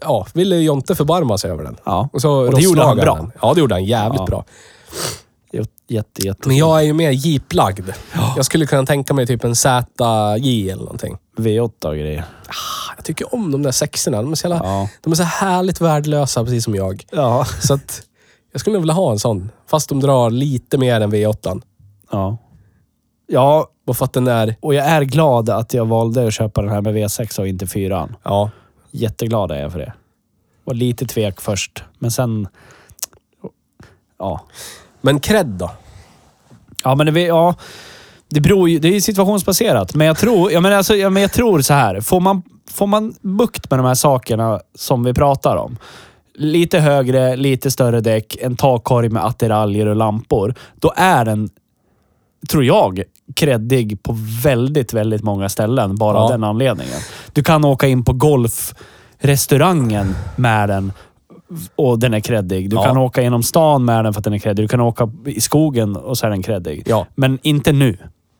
Speaker 2: ja, ville Jonte förbarma sig över den.
Speaker 1: Ja.
Speaker 2: Och, så
Speaker 1: Och det gjorde han
Speaker 2: rostlagade
Speaker 1: bra.
Speaker 2: Den. Ja, det gjorde han jävligt
Speaker 1: Ja.
Speaker 2: bra.
Speaker 1: Jätte, jätte, jätte.
Speaker 2: Men jag är ju mer jeeplagd. Jag skulle kunna tänka mig typ en ZJ eller någonting.
Speaker 1: V8 och grejer.
Speaker 2: Jag tycker om de där sexorna. De är så, jävla,
Speaker 1: Ja.
Speaker 2: de är så härligt värdelösa, precis som jag.
Speaker 1: Ja.
Speaker 2: Så att jag skulle nog vilja ha en sån. Fast de drar lite mer än V8.
Speaker 1: ja. Ja,
Speaker 2: Bara för att den är...
Speaker 1: och jag är glad att jag valde att köpa den här med V6 och inte 4
Speaker 2: Ja.
Speaker 1: Jätteglad är jag för det. Var lite tvek först, men sen... Ja.
Speaker 2: Men cred då?
Speaker 1: Ja, men det, ja, det beror ju... Det är ju situationsbaserat. Men jag tror, jag menar alltså, jag, men jag tror så här. Får man, får man bukt med de här sakerna som vi pratar om. Lite högre, lite större däck, en takkorg med attiraljer och lampor. Då är den, tror jag, kreddig på väldigt, väldigt många ställen. Bara av
Speaker 2: Ja.
Speaker 1: den anledningen. Du kan åka in på golfrestaurangen med den och den är kreddig. Du
Speaker 2: Ja.
Speaker 1: kan åka genom stan med den för att den är kreddig. Du kan åka i skogen och så är den kreddig.
Speaker 2: Ja.
Speaker 1: Men inte nu.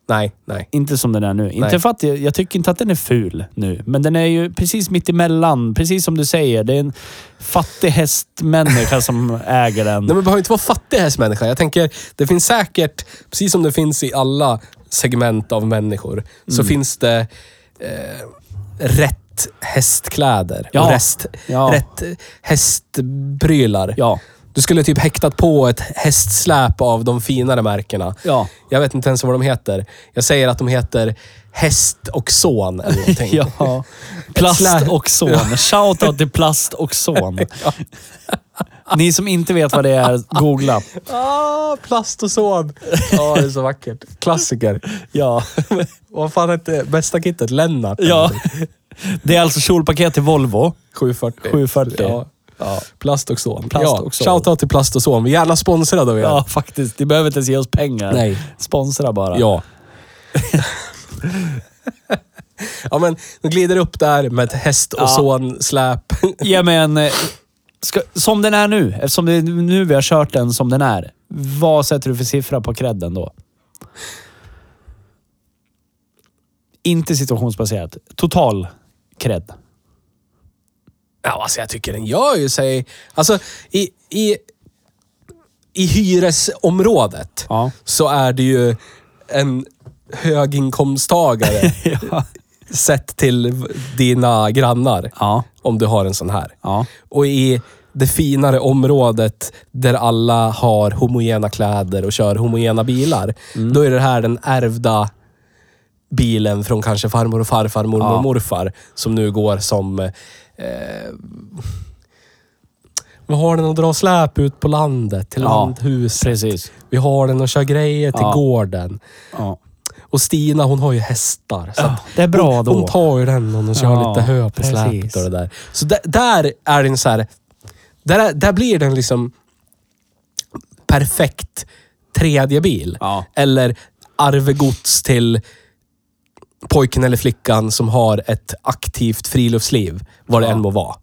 Speaker 2: Nej, nej.
Speaker 1: Inte som den är nu. Inte för att jag, jag tycker inte att den är ful nu, men den är ju precis mitt emellan. Precis som du säger, det är en fattig hästmänniska som äger den.
Speaker 2: Nej, men behöver inte vara fattig hästmänniska. Jag tänker, det finns säkert, precis som det finns i alla segment av människor, så
Speaker 1: Mm.
Speaker 2: finns det eh, rätt hästkläder och
Speaker 1: Ja.
Speaker 2: rest,
Speaker 1: Ja.
Speaker 2: rätt hästprylar.
Speaker 1: Ja.
Speaker 2: Du skulle typ häktat på ett hästsläp av de finare märkena.
Speaker 1: Ja.
Speaker 2: Jag vet inte ens vad de heter. Jag säger att de heter häst och son eller någonting.
Speaker 1: Ja. Plast
Speaker 2: slä-
Speaker 1: och son. Shoutout till plast och son. Ni som inte vet vad det är, googla.
Speaker 2: Ah, plast och son. Ja, det är så vackert. Klassiker.
Speaker 1: Ja.
Speaker 2: Vad fan hette bästa kittet? Lennart?
Speaker 1: ja. Det är alltså kjolpaket till Volvo.
Speaker 2: 740.
Speaker 1: 740.
Speaker 2: Ja.
Speaker 1: Ja.
Speaker 2: Plast och son.
Speaker 1: Plast
Speaker 2: ja.
Speaker 1: och son.
Speaker 2: Shoutout till Plast och son. Vi är gärna sponsrade av er.
Speaker 1: Ja, faktiskt. Ni behöver inte ens ge oss pengar.
Speaker 2: Nej.
Speaker 1: Sponsra bara.
Speaker 2: Ja. ja, men de glider upp där med ett häst och
Speaker 1: Ja.
Speaker 2: son släp.
Speaker 1: Ge mig en... eh, Ska, som den är nu, eftersom det är nu vi har kört den som den är. Vad sätter du för siffra på credden då? Inte situationsbaserat. Total cred.
Speaker 2: ja, alltså jag tycker den gör ju sig... Alltså, i, i, i hyresområdet
Speaker 1: Ja.
Speaker 2: så är det ju en höginkomsttagare
Speaker 1: Ja.
Speaker 2: sett till v- dina grannar.
Speaker 1: Ja.
Speaker 2: Om du har en sån här.
Speaker 1: Ja.
Speaker 2: Och i det finare området där alla har homogena kläder och kör homogena bilar.
Speaker 1: Mm.
Speaker 2: Då är det här den ärvda bilen från kanske farmor och farfar, mormor
Speaker 1: Ja.
Speaker 2: och morfar. Som nu går som... Eh, Vi har den att dra släp ut på landet, till
Speaker 1: Ja,
Speaker 2: landhuset.
Speaker 1: precis.
Speaker 2: Vi har den att köra grejer till
Speaker 1: Ja.
Speaker 2: gården.
Speaker 1: Ja.
Speaker 2: Och Stina hon har ju hästar. Så att
Speaker 1: Det är bra
Speaker 2: hon,
Speaker 1: då.
Speaker 2: hon tar ju den och hon kör
Speaker 1: Ja,
Speaker 2: lite hö på
Speaker 1: precis.
Speaker 2: släpet och det där. Så där, där är den så här... Där, är- där blir den liksom perfekt tredje bil.
Speaker 1: Ja.
Speaker 2: Eller arvegods till pojken eller flickan som har ett aktivt friluftsliv, vad det
Speaker 1: Ja.
Speaker 2: än må vara.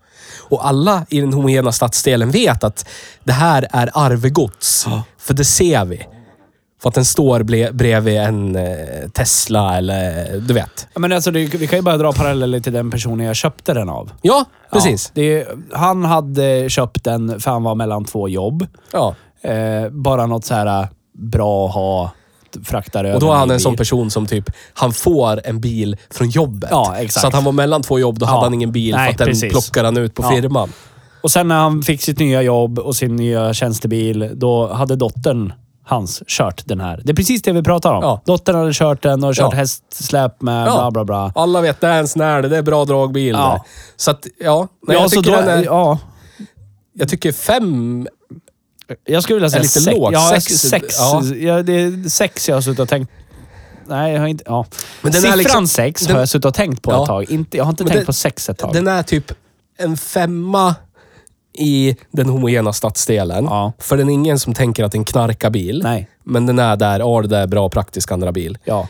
Speaker 2: Och alla i den homogena stadsdelen vet att det här är arvegods. För det ser vi. För att den står ble- bredvid en eh, Tesla eller du vet.
Speaker 1: Men alltså, det, vi kan ju bara dra paralleller till den personen jag köpte den av.
Speaker 2: Ja, precis.
Speaker 1: Ja, det, han hade köpt den för han var mellan två jobb.
Speaker 2: Ja.
Speaker 1: Eh, bara något så här eh, bra att ha, fraktar över
Speaker 2: Och då är han
Speaker 1: i
Speaker 2: en sån
Speaker 1: bil.
Speaker 2: person som typ, han får en bil från jobbet.
Speaker 1: Ja, exakt.
Speaker 2: Så att han var mellan två jobb, då hade
Speaker 1: Ja.
Speaker 2: han ingen bil
Speaker 1: Nej,
Speaker 2: för att den
Speaker 1: precis.
Speaker 2: plockar han ut på
Speaker 1: Ja.
Speaker 2: firman.
Speaker 1: Och sen när han fick sitt nya jobb och sin nya tjänstebil, då hade dottern hans kört den här. Det är precis det vi pratar om.
Speaker 2: Ja.
Speaker 1: Dottern hade kört den och kört
Speaker 2: Ja.
Speaker 1: hästsläp med
Speaker 2: Ja.
Speaker 1: bla bla bla.
Speaker 2: Alla vet, det är en snärde, det är bra dragbil.
Speaker 1: Ja.
Speaker 2: där. Så att, ja. Nej, jag,
Speaker 1: så
Speaker 2: tycker den är,
Speaker 1: ja,
Speaker 2: jag tycker fem...
Speaker 1: jag skulle vilja säga
Speaker 2: lite
Speaker 1: sex.
Speaker 2: lågt.
Speaker 1: Ja,
Speaker 2: Sex-
Speaker 1: sex. sex.
Speaker 2: ja.
Speaker 1: Ja. det är sex jag har suttit och tänkt. Nej, jag har inte... Ja.
Speaker 2: Men den är
Speaker 1: Siffran
Speaker 2: liksom-
Speaker 1: sex
Speaker 2: den-
Speaker 1: har jag suttit och tänkt på
Speaker 2: Ja.
Speaker 1: ett tag. Inte, jag har inte
Speaker 2: Men
Speaker 1: tänkt
Speaker 2: den-
Speaker 1: på sex ett tag.
Speaker 2: Den är typ en femma i den homogena stadsdelen.
Speaker 1: Ja.
Speaker 2: För den är ingen som tänker att det är en knarkarbil.
Speaker 1: Nej.
Speaker 2: Men den är där, ja det där är bra praktisk andra bil.
Speaker 1: Ja.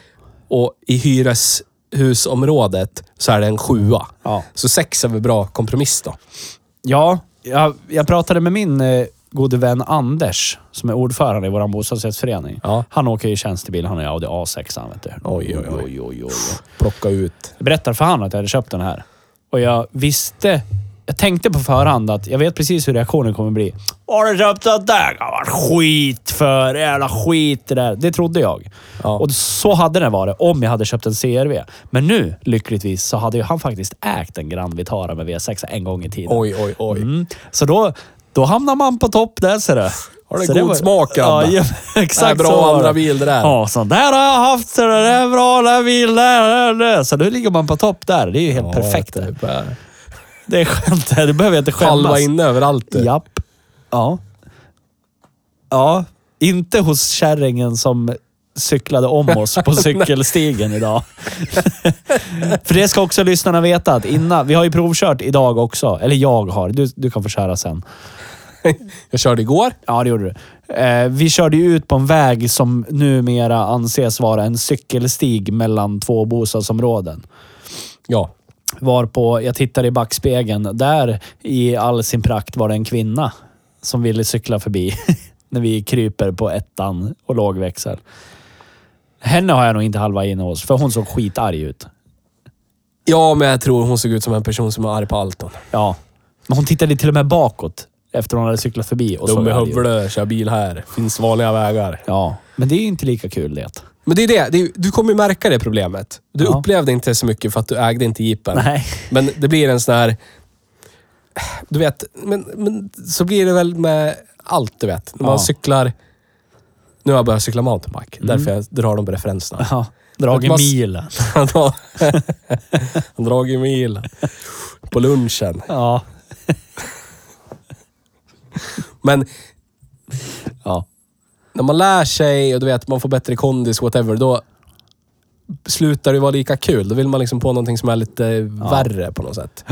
Speaker 2: Och i hyreshusområdet så är det en sjua.
Speaker 1: Ja.
Speaker 2: Så sex är väl bra kompromiss då.
Speaker 1: Ja, jag, jag pratade med min eh, gode vän Anders, som är ordförande i vår bostadsrättsförening.
Speaker 2: Ja.
Speaker 1: Han åker ju tjänstebil, han och jag, och det är A6 han vet du.
Speaker 2: Oj, oj, oj.
Speaker 1: oj, oj, oj.
Speaker 2: Plocka ut.
Speaker 1: Jag berättade för han att jag hade köpt den här. Och jag visste... Jag tänkte på förhand att jag vet precis hur reaktionen kommer bli. Har du köpt den där? Vad skit för jävla skit det där. Det trodde jag.
Speaker 2: Ja.
Speaker 1: Och så hade det varit om jag hade köpt en CRV. Men nu, lyckligtvis, så hade ju han faktiskt ägt en Grand Vitara med V6 en gång i tiden.
Speaker 2: Oj, oj, oj.
Speaker 1: Mm. Så då, då hamnar man på topp där ser du.
Speaker 2: Har du
Speaker 1: Så
Speaker 2: god smak,
Speaker 1: ja,
Speaker 2: Abba?
Speaker 1: ja,
Speaker 2: Det är
Speaker 1: exakt
Speaker 2: bra
Speaker 1: så var
Speaker 2: andra
Speaker 1: det.
Speaker 2: bil det där.
Speaker 1: Ja, så där har jag haft. Så det är bra den här bilen. där, där, där. Så nu ligger man på topp där. Det är ju helt perfekt. Det.
Speaker 2: Typ, eh,
Speaker 1: det är skönt. Det behöver jag inte
Speaker 2: Halva
Speaker 1: skämmas.
Speaker 2: inne överallt. du.
Speaker 1: Japp. Ja. Ja. Inte hos kärringen som cyklade om oss på cykelstigen idag. För det ska också lyssnarna veta att innan, vi har ju provkört idag också. Eller jag har. Du, du kan få köra sen.
Speaker 2: Jag körde igår.
Speaker 1: Ja, det gjorde du. Eh, vi körde ju ut på en väg som numera anses vara en cykelstig mellan två bostadsområden.
Speaker 2: Ja.
Speaker 1: Varpå jag tittade i backspegeln. Där i all sin prakt var det en kvinna som ville cykla förbi när vi kryper på ettan och lågväxel. Henne har jag nog inte halva inne hos, för hon såg skitarg ut.
Speaker 2: Ja, men jag tror hon såg ut som en person som är arg på allt. hon.
Speaker 1: Ja. Men hon tittade till och med bakåt efter hon hade cyklat förbi och såg
Speaker 2: Dum i
Speaker 1: arg ut.
Speaker 2: huvudet, kör bil här. Finns vanliga vägar.
Speaker 1: Ja, men det är ju inte lika kul det.
Speaker 2: Men det är det. det är, du kommer ju märka det problemet. Du
Speaker 1: Ja.
Speaker 2: upplevde inte så mycket för att du ägde inte jeepen.
Speaker 1: Nej.
Speaker 2: Men det blir en sån här... Du vet, men, men så blir det väl med allt du vet. När man
Speaker 1: Ja. Mm.
Speaker 2: cyklar... Nu har jag börjat cykla mountainbike. Därför jag drar de referenserna.
Speaker 1: Ja. Drag i
Speaker 2: Mas-
Speaker 1: milen.
Speaker 2: Han har han dragit mil på lunchen.
Speaker 1: Ja.
Speaker 2: Men
Speaker 1: ja.
Speaker 2: när man lär sig och du vet, man får bättre kondis, whatever, då slutar det vara lika kul. Då vill man liksom på någonting som är lite värre på något sätt.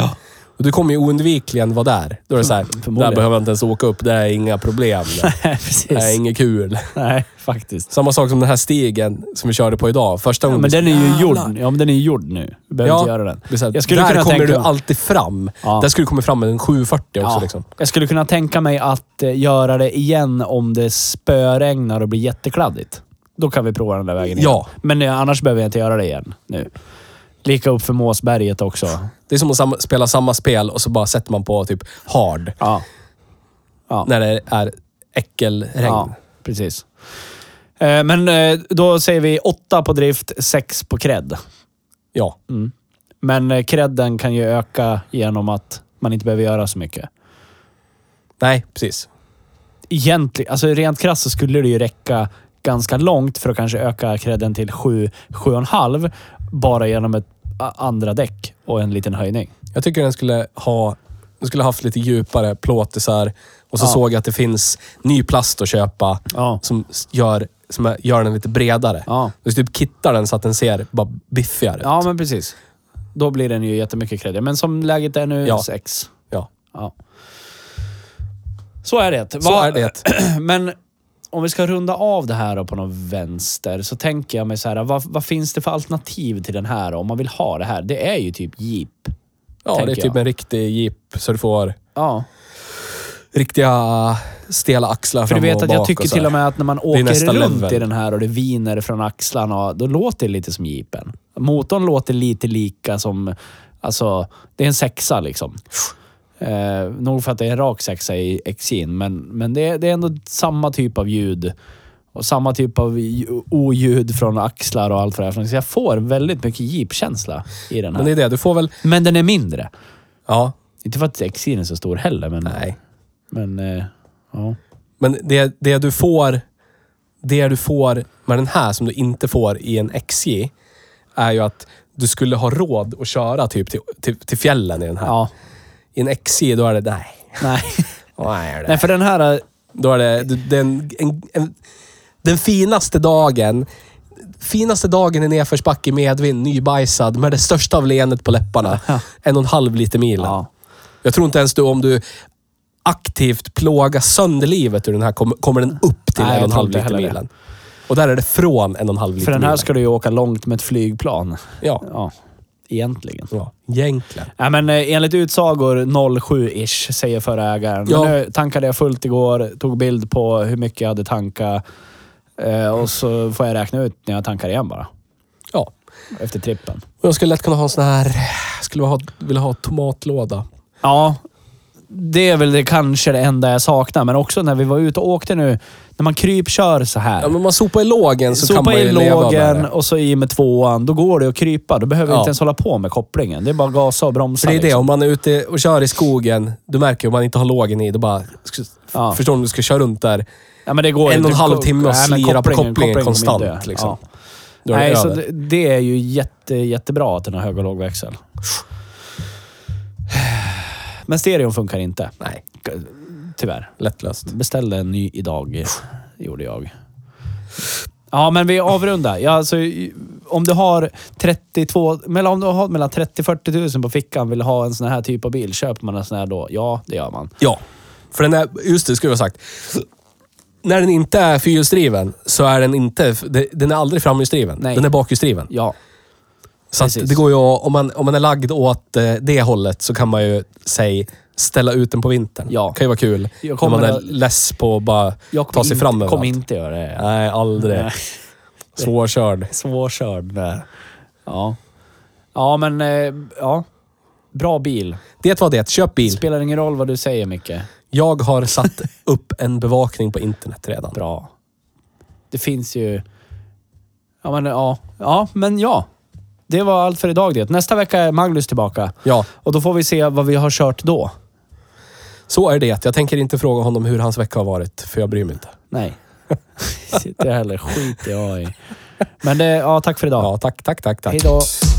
Speaker 2: Och du kommer ju oundvikligen vara där. Då är det så här, där
Speaker 1: förmodligen.
Speaker 2: behöver jag inte ens åka upp, det är inga problem.
Speaker 1: Precis.
Speaker 2: Det är
Speaker 1: Nej.
Speaker 2: inget kul.
Speaker 1: faktiskt.
Speaker 2: Samma sak som den här stigen som vi körde på idag. Första
Speaker 1: Ja,
Speaker 2: gången
Speaker 1: men
Speaker 2: du-
Speaker 1: den är ju gjord, ja, men den är ju gjord nu. Du behöver inte göra den.
Speaker 2: det är så här,
Speaker 1: Jag skulle
Speaker 2: där
Speaker 1: kunna
Speaker 2: kommer
Speaker 1: tänka
Speaker 2: du
Speaker 1: mig-
Speaker 2: alltid fram.
Speaker 1: Ja.
Speaker 2: Där skulle du komma fram med en 740 också.
Speaker 1: Ja.
Speaker 2: Liksom.
Speaker 1: Jag skulle kunna tänka mig att eh, göra det igen om det spöregnar och blir jättekladdigt. Då kan vi prova den där vägen igen.
Speaker 2: Ja.
Speaker 1: Men eh, annars behöver jag inte göra det igen nu. Lika upp för Måsberget också.
Speaker 2: Det är som att sam- spela samma spel och så bara sätter man på typ hard.
Speaker 1: Ja. Ja.
Speaker 2: När det är äckelregn.
Speaker 1: Ja, precis. Eh, Men eh, då säger vi åtta på drift, sex på cred.
Speaker 2: ja.
Speaker 1: Mm. Men eh, credden kan ju öka genom att man inte behöver göra så mycket.
Speaker 2: Nej, precis.
Speaker 1: Egentligen, alltså rent krasst så skulle det ju räcka ganska långt för att kanske öka credden till 7-7,5 bara genom ett a- andra däck och en liten höjning.
Speaker 2: Jag tycker den skulle ha Jag skulle haft lite djupare plåtisar. Och så
Speaker 1: Ja.
Speaker 2: såg jag att det finns ny plast att köpa
Speaker 1: Ja.
Speaker 2: som s- gör, som är- gör den lite bredare.
Speaker 1: Ja.
Speaker 2: Du typ kittar den så att den ser bara biffigare ut.
Speaker 1: Ja, men precis. Då blir den ju jättemycket kreddig. Men som läget är nu,
Speaker 2: Ja.
Speaker 1: sex.
Speaker 2: Ja.
Speaker 1: Ja. Så är det.
Speaker 2: Så
Speaker 1: Vad-
Speaker 2: är det.
Speaker 1: Men om vi ska runda av det här då på någon vänster så tänker jag mig så här, vad, vad finns det för alternativ till den här då, om man vill ha det här? Det är ju typ Jeep.
Speaker 2: Ja, det
Speaker 1: tänker
Speaker 2: är typ
Speaker 1: jag.
Speaker 2: en riktig jeep så du får
Speaker 1: Ja,
Speaker 2: riktiga stela axlar
Speaker 1: för du
Speaker 2: fram
Speaker 1: vet
Speaker 2: och
Speaker 1: att
Speaker 2: bak
Speaker 1: jag tycker
Speaker 2: så
Speaker 1: till
Speaker 2: här.
Speaker 1: och med att när man
Speaker 2: är
Speaker 1: åker
Speaker 2: nästa
Speaker 1: runt
Speaker 2: level.
Speaker 1: i den här och det viner från axlarna, då låter det lite som Jeepen. Motorn låter lite lika som, alltså, det är en sexa liksom. Eh, nog för att det är en rak sexa i Exin, men, men det, är- det är ändå samma typ av ljud. Och samma typ av lj- oljud från axlar och allt vad det är. för något. Så jag får väldigt mycket Jeep-känsla i den här.
Speaker 2: Men det
Speaker 1: Men,
Speaker 2: är det, du får väl...
Speaker 1: den är mindre.
Speaker 2: Ja,
Speaker 1: Inte för att Exin är så stor heller, men...
Speaker 2: Nej.
Speaker 1: Men, eh, ja.
Speaker 2: men det, det du får... Det du får med den här som du inte får i en XJ är ju att du skulle ha råd att köra typ till, till, till fjällen i den här.
Speaker 1: Ja.
Speaker 2: I en XJ då är det... Nej.
Speaker 1: Nej.
Speaker 2: Vad är det?
Speaker 1: Nej, för den här... eh,
Speaker 2: Då är det du- den, en, en, den finaste dagen. Finaste dagen i nedförsbacke i medvind, nybajsad, med det största av leendet på läpparna. En och en halv liter milen.
Speaker 1: Ja.
Speaker 2: Jag tror inte ens du, om du aktivt plågar sönder livet ur den här, kommer, kommer den upp till
Speaker 1: Nej,
Speaker 2: en
Speaker 1: jag
Speaker 2: och en
Speaker 1: tror
Speaker 2: halv
Speaker 1: inte
Speaker 2: liter
Speaker 1: heller det.
Speaker 2: milen. Och där är det från en och en halv liter
Speaker 1: För den här
Speaker 2: milen.
Speaker 1: ska du ju åka långt med ett flygplan.
Speaker 2: Ja.
Speaker 1: Ja, egentligen.
Speaker 2: ja, egentligen.
Speaker 1: Ja, men eh, enligt utsagor 07-ish, säger förra ägaren.
Speaker 2: Ja.
Speaker 1: Men nu tankade jag fullt igår, tog bild på hur mycket jag hade tankat eh, och så får jag räkna ut när jag tankar igen bara.
Speaker 2: Ja.
Speaker 1: Efter trippen.
Speaker 2: Och jag skulle lätt kunna ha en sån här... Jag skulle ha, vilja ha tomatlåda.
Speaker 1: Ja, det är väl det, kanske det enda jag saknar, men också när vi var ute och åkte nu. När man krypkör så här.
Speaker 2: Ja, men man sopar i lågen så kan
Speaker 1: Sopa
Speaker 2: man ju
Speaker 1: i
Speaker 2: leva med det.
Speaker 1: lågen och så i med tvåan. Då går det att krypa. Då behöver vi
Speaker 2: Ja.
Speaker 1: inte ens hålla på med kopplingen. Det är bara gasa och
Speaker 2: För
Speaker 1: bromsa.
Speaker 2: det är det,
Speaker 1: liksom.
Speaker 2: om man är ute och kör i skogen, du märker om man inte har lågen i, då bara...
Speaker 1: Ja.
Speaker 2: Förstår du om du ska köra runt där,
Speaker 1: Ja, men det går
Speaker 2: En
Speaker 1: inte.
Speaker 2: och en halv
Speaker 1: Ko-
Speaker 2: timme och
Speaker 1: Nej, men
Speaker 2: slira på kopplingen
Speaker 1: kommer
Speaker 2: konstant,
Speaker 1: inte.
Speaker 2: liksom.
Speaker 1: Ja.
Speaker 2: då är
Speaker 1: Nej,
Speaker 2: det
Speaker 1: så
Speaker 2: över.
Speaker 1: det, det är ju jätte, jättebra att den har hög och låg växel. Men stereon funkar inte.
Speaker 2: Nej,
Speaker 1: Tyvärr.
Speaker 2: lättlöst.
Speaker 1: Beställde en ny idag, gjorde jag. Ja, men vi avrundar. Ja, alltså, i- om du har 32, mellan, om du har mellan 30-40 tusen på fickan vill ha en sån här typ av bil, köper man en sån här då? Ja, det gör man.
Speaker 2: Ja, för den är, just det, skulle jag ha sagt. När den inte är fyrhjulsdriven så är den inte, den är aldrig framhjulsdriven.
Speaker 1: Nej.
Speaker 2: Den är bakhjulsdriven.
Speaker 1: Ja,
Speaker 2: Så att
Speaker 1: precis.
Speaker 2: det går ju att, om man, om man är lagd åt eh, det hållet så kan man ju, säg, ställa ut den på vintern.
Speaker 1: Ja.
Speaker 2: kan ju vara kul.
Speaker 1: Jag
Speaker 2: När
Speaker 1: kommer
Speaker 2: man är
Speaker 1: att-
Speaker 2: less på att bara
Speaker 1: jag
Speaker 2: ta sig
Speaker 1: kommer
Speaker 2: fram
Speaker 1: inte, kommer
Speaker 2: överallt.
Speaker 1: inte göra det.
Speaker 2: Nej, aldrig.
Speaker 1: Nej.
Speaker 2: Svårkörd.
Speaker 1: Svårkörd där. Ja. Ja, men eh, ja. Bra bil.
Speaker 2: Det var det. Köp bil.
Speaker 1: Spelar ingen roll vad du säger, Micke.
Speaker 2: Jag har satt upp en bevakning på internet redan.
Speaker 1: Bra. Det finns ju... Ja, men ja. Ja, men ja. Det var allt för idag det. Nästa vecka är Magnus tillbaka.
Speaker 2: Ja,
Speaker 1: Och då får vi se vad vi har kört då.
Speaker 2: så är det. Jag tänker inte fråga honom hur hans vecka har varit, för jag bryr mig inte.
Speaker 1: Nej. Sitter jag heller. Skit i AI. Men det, ja, tack för idag.
Speaker 2: Ja, tack, tack, tack, tack.
Speaker 1: Hej då.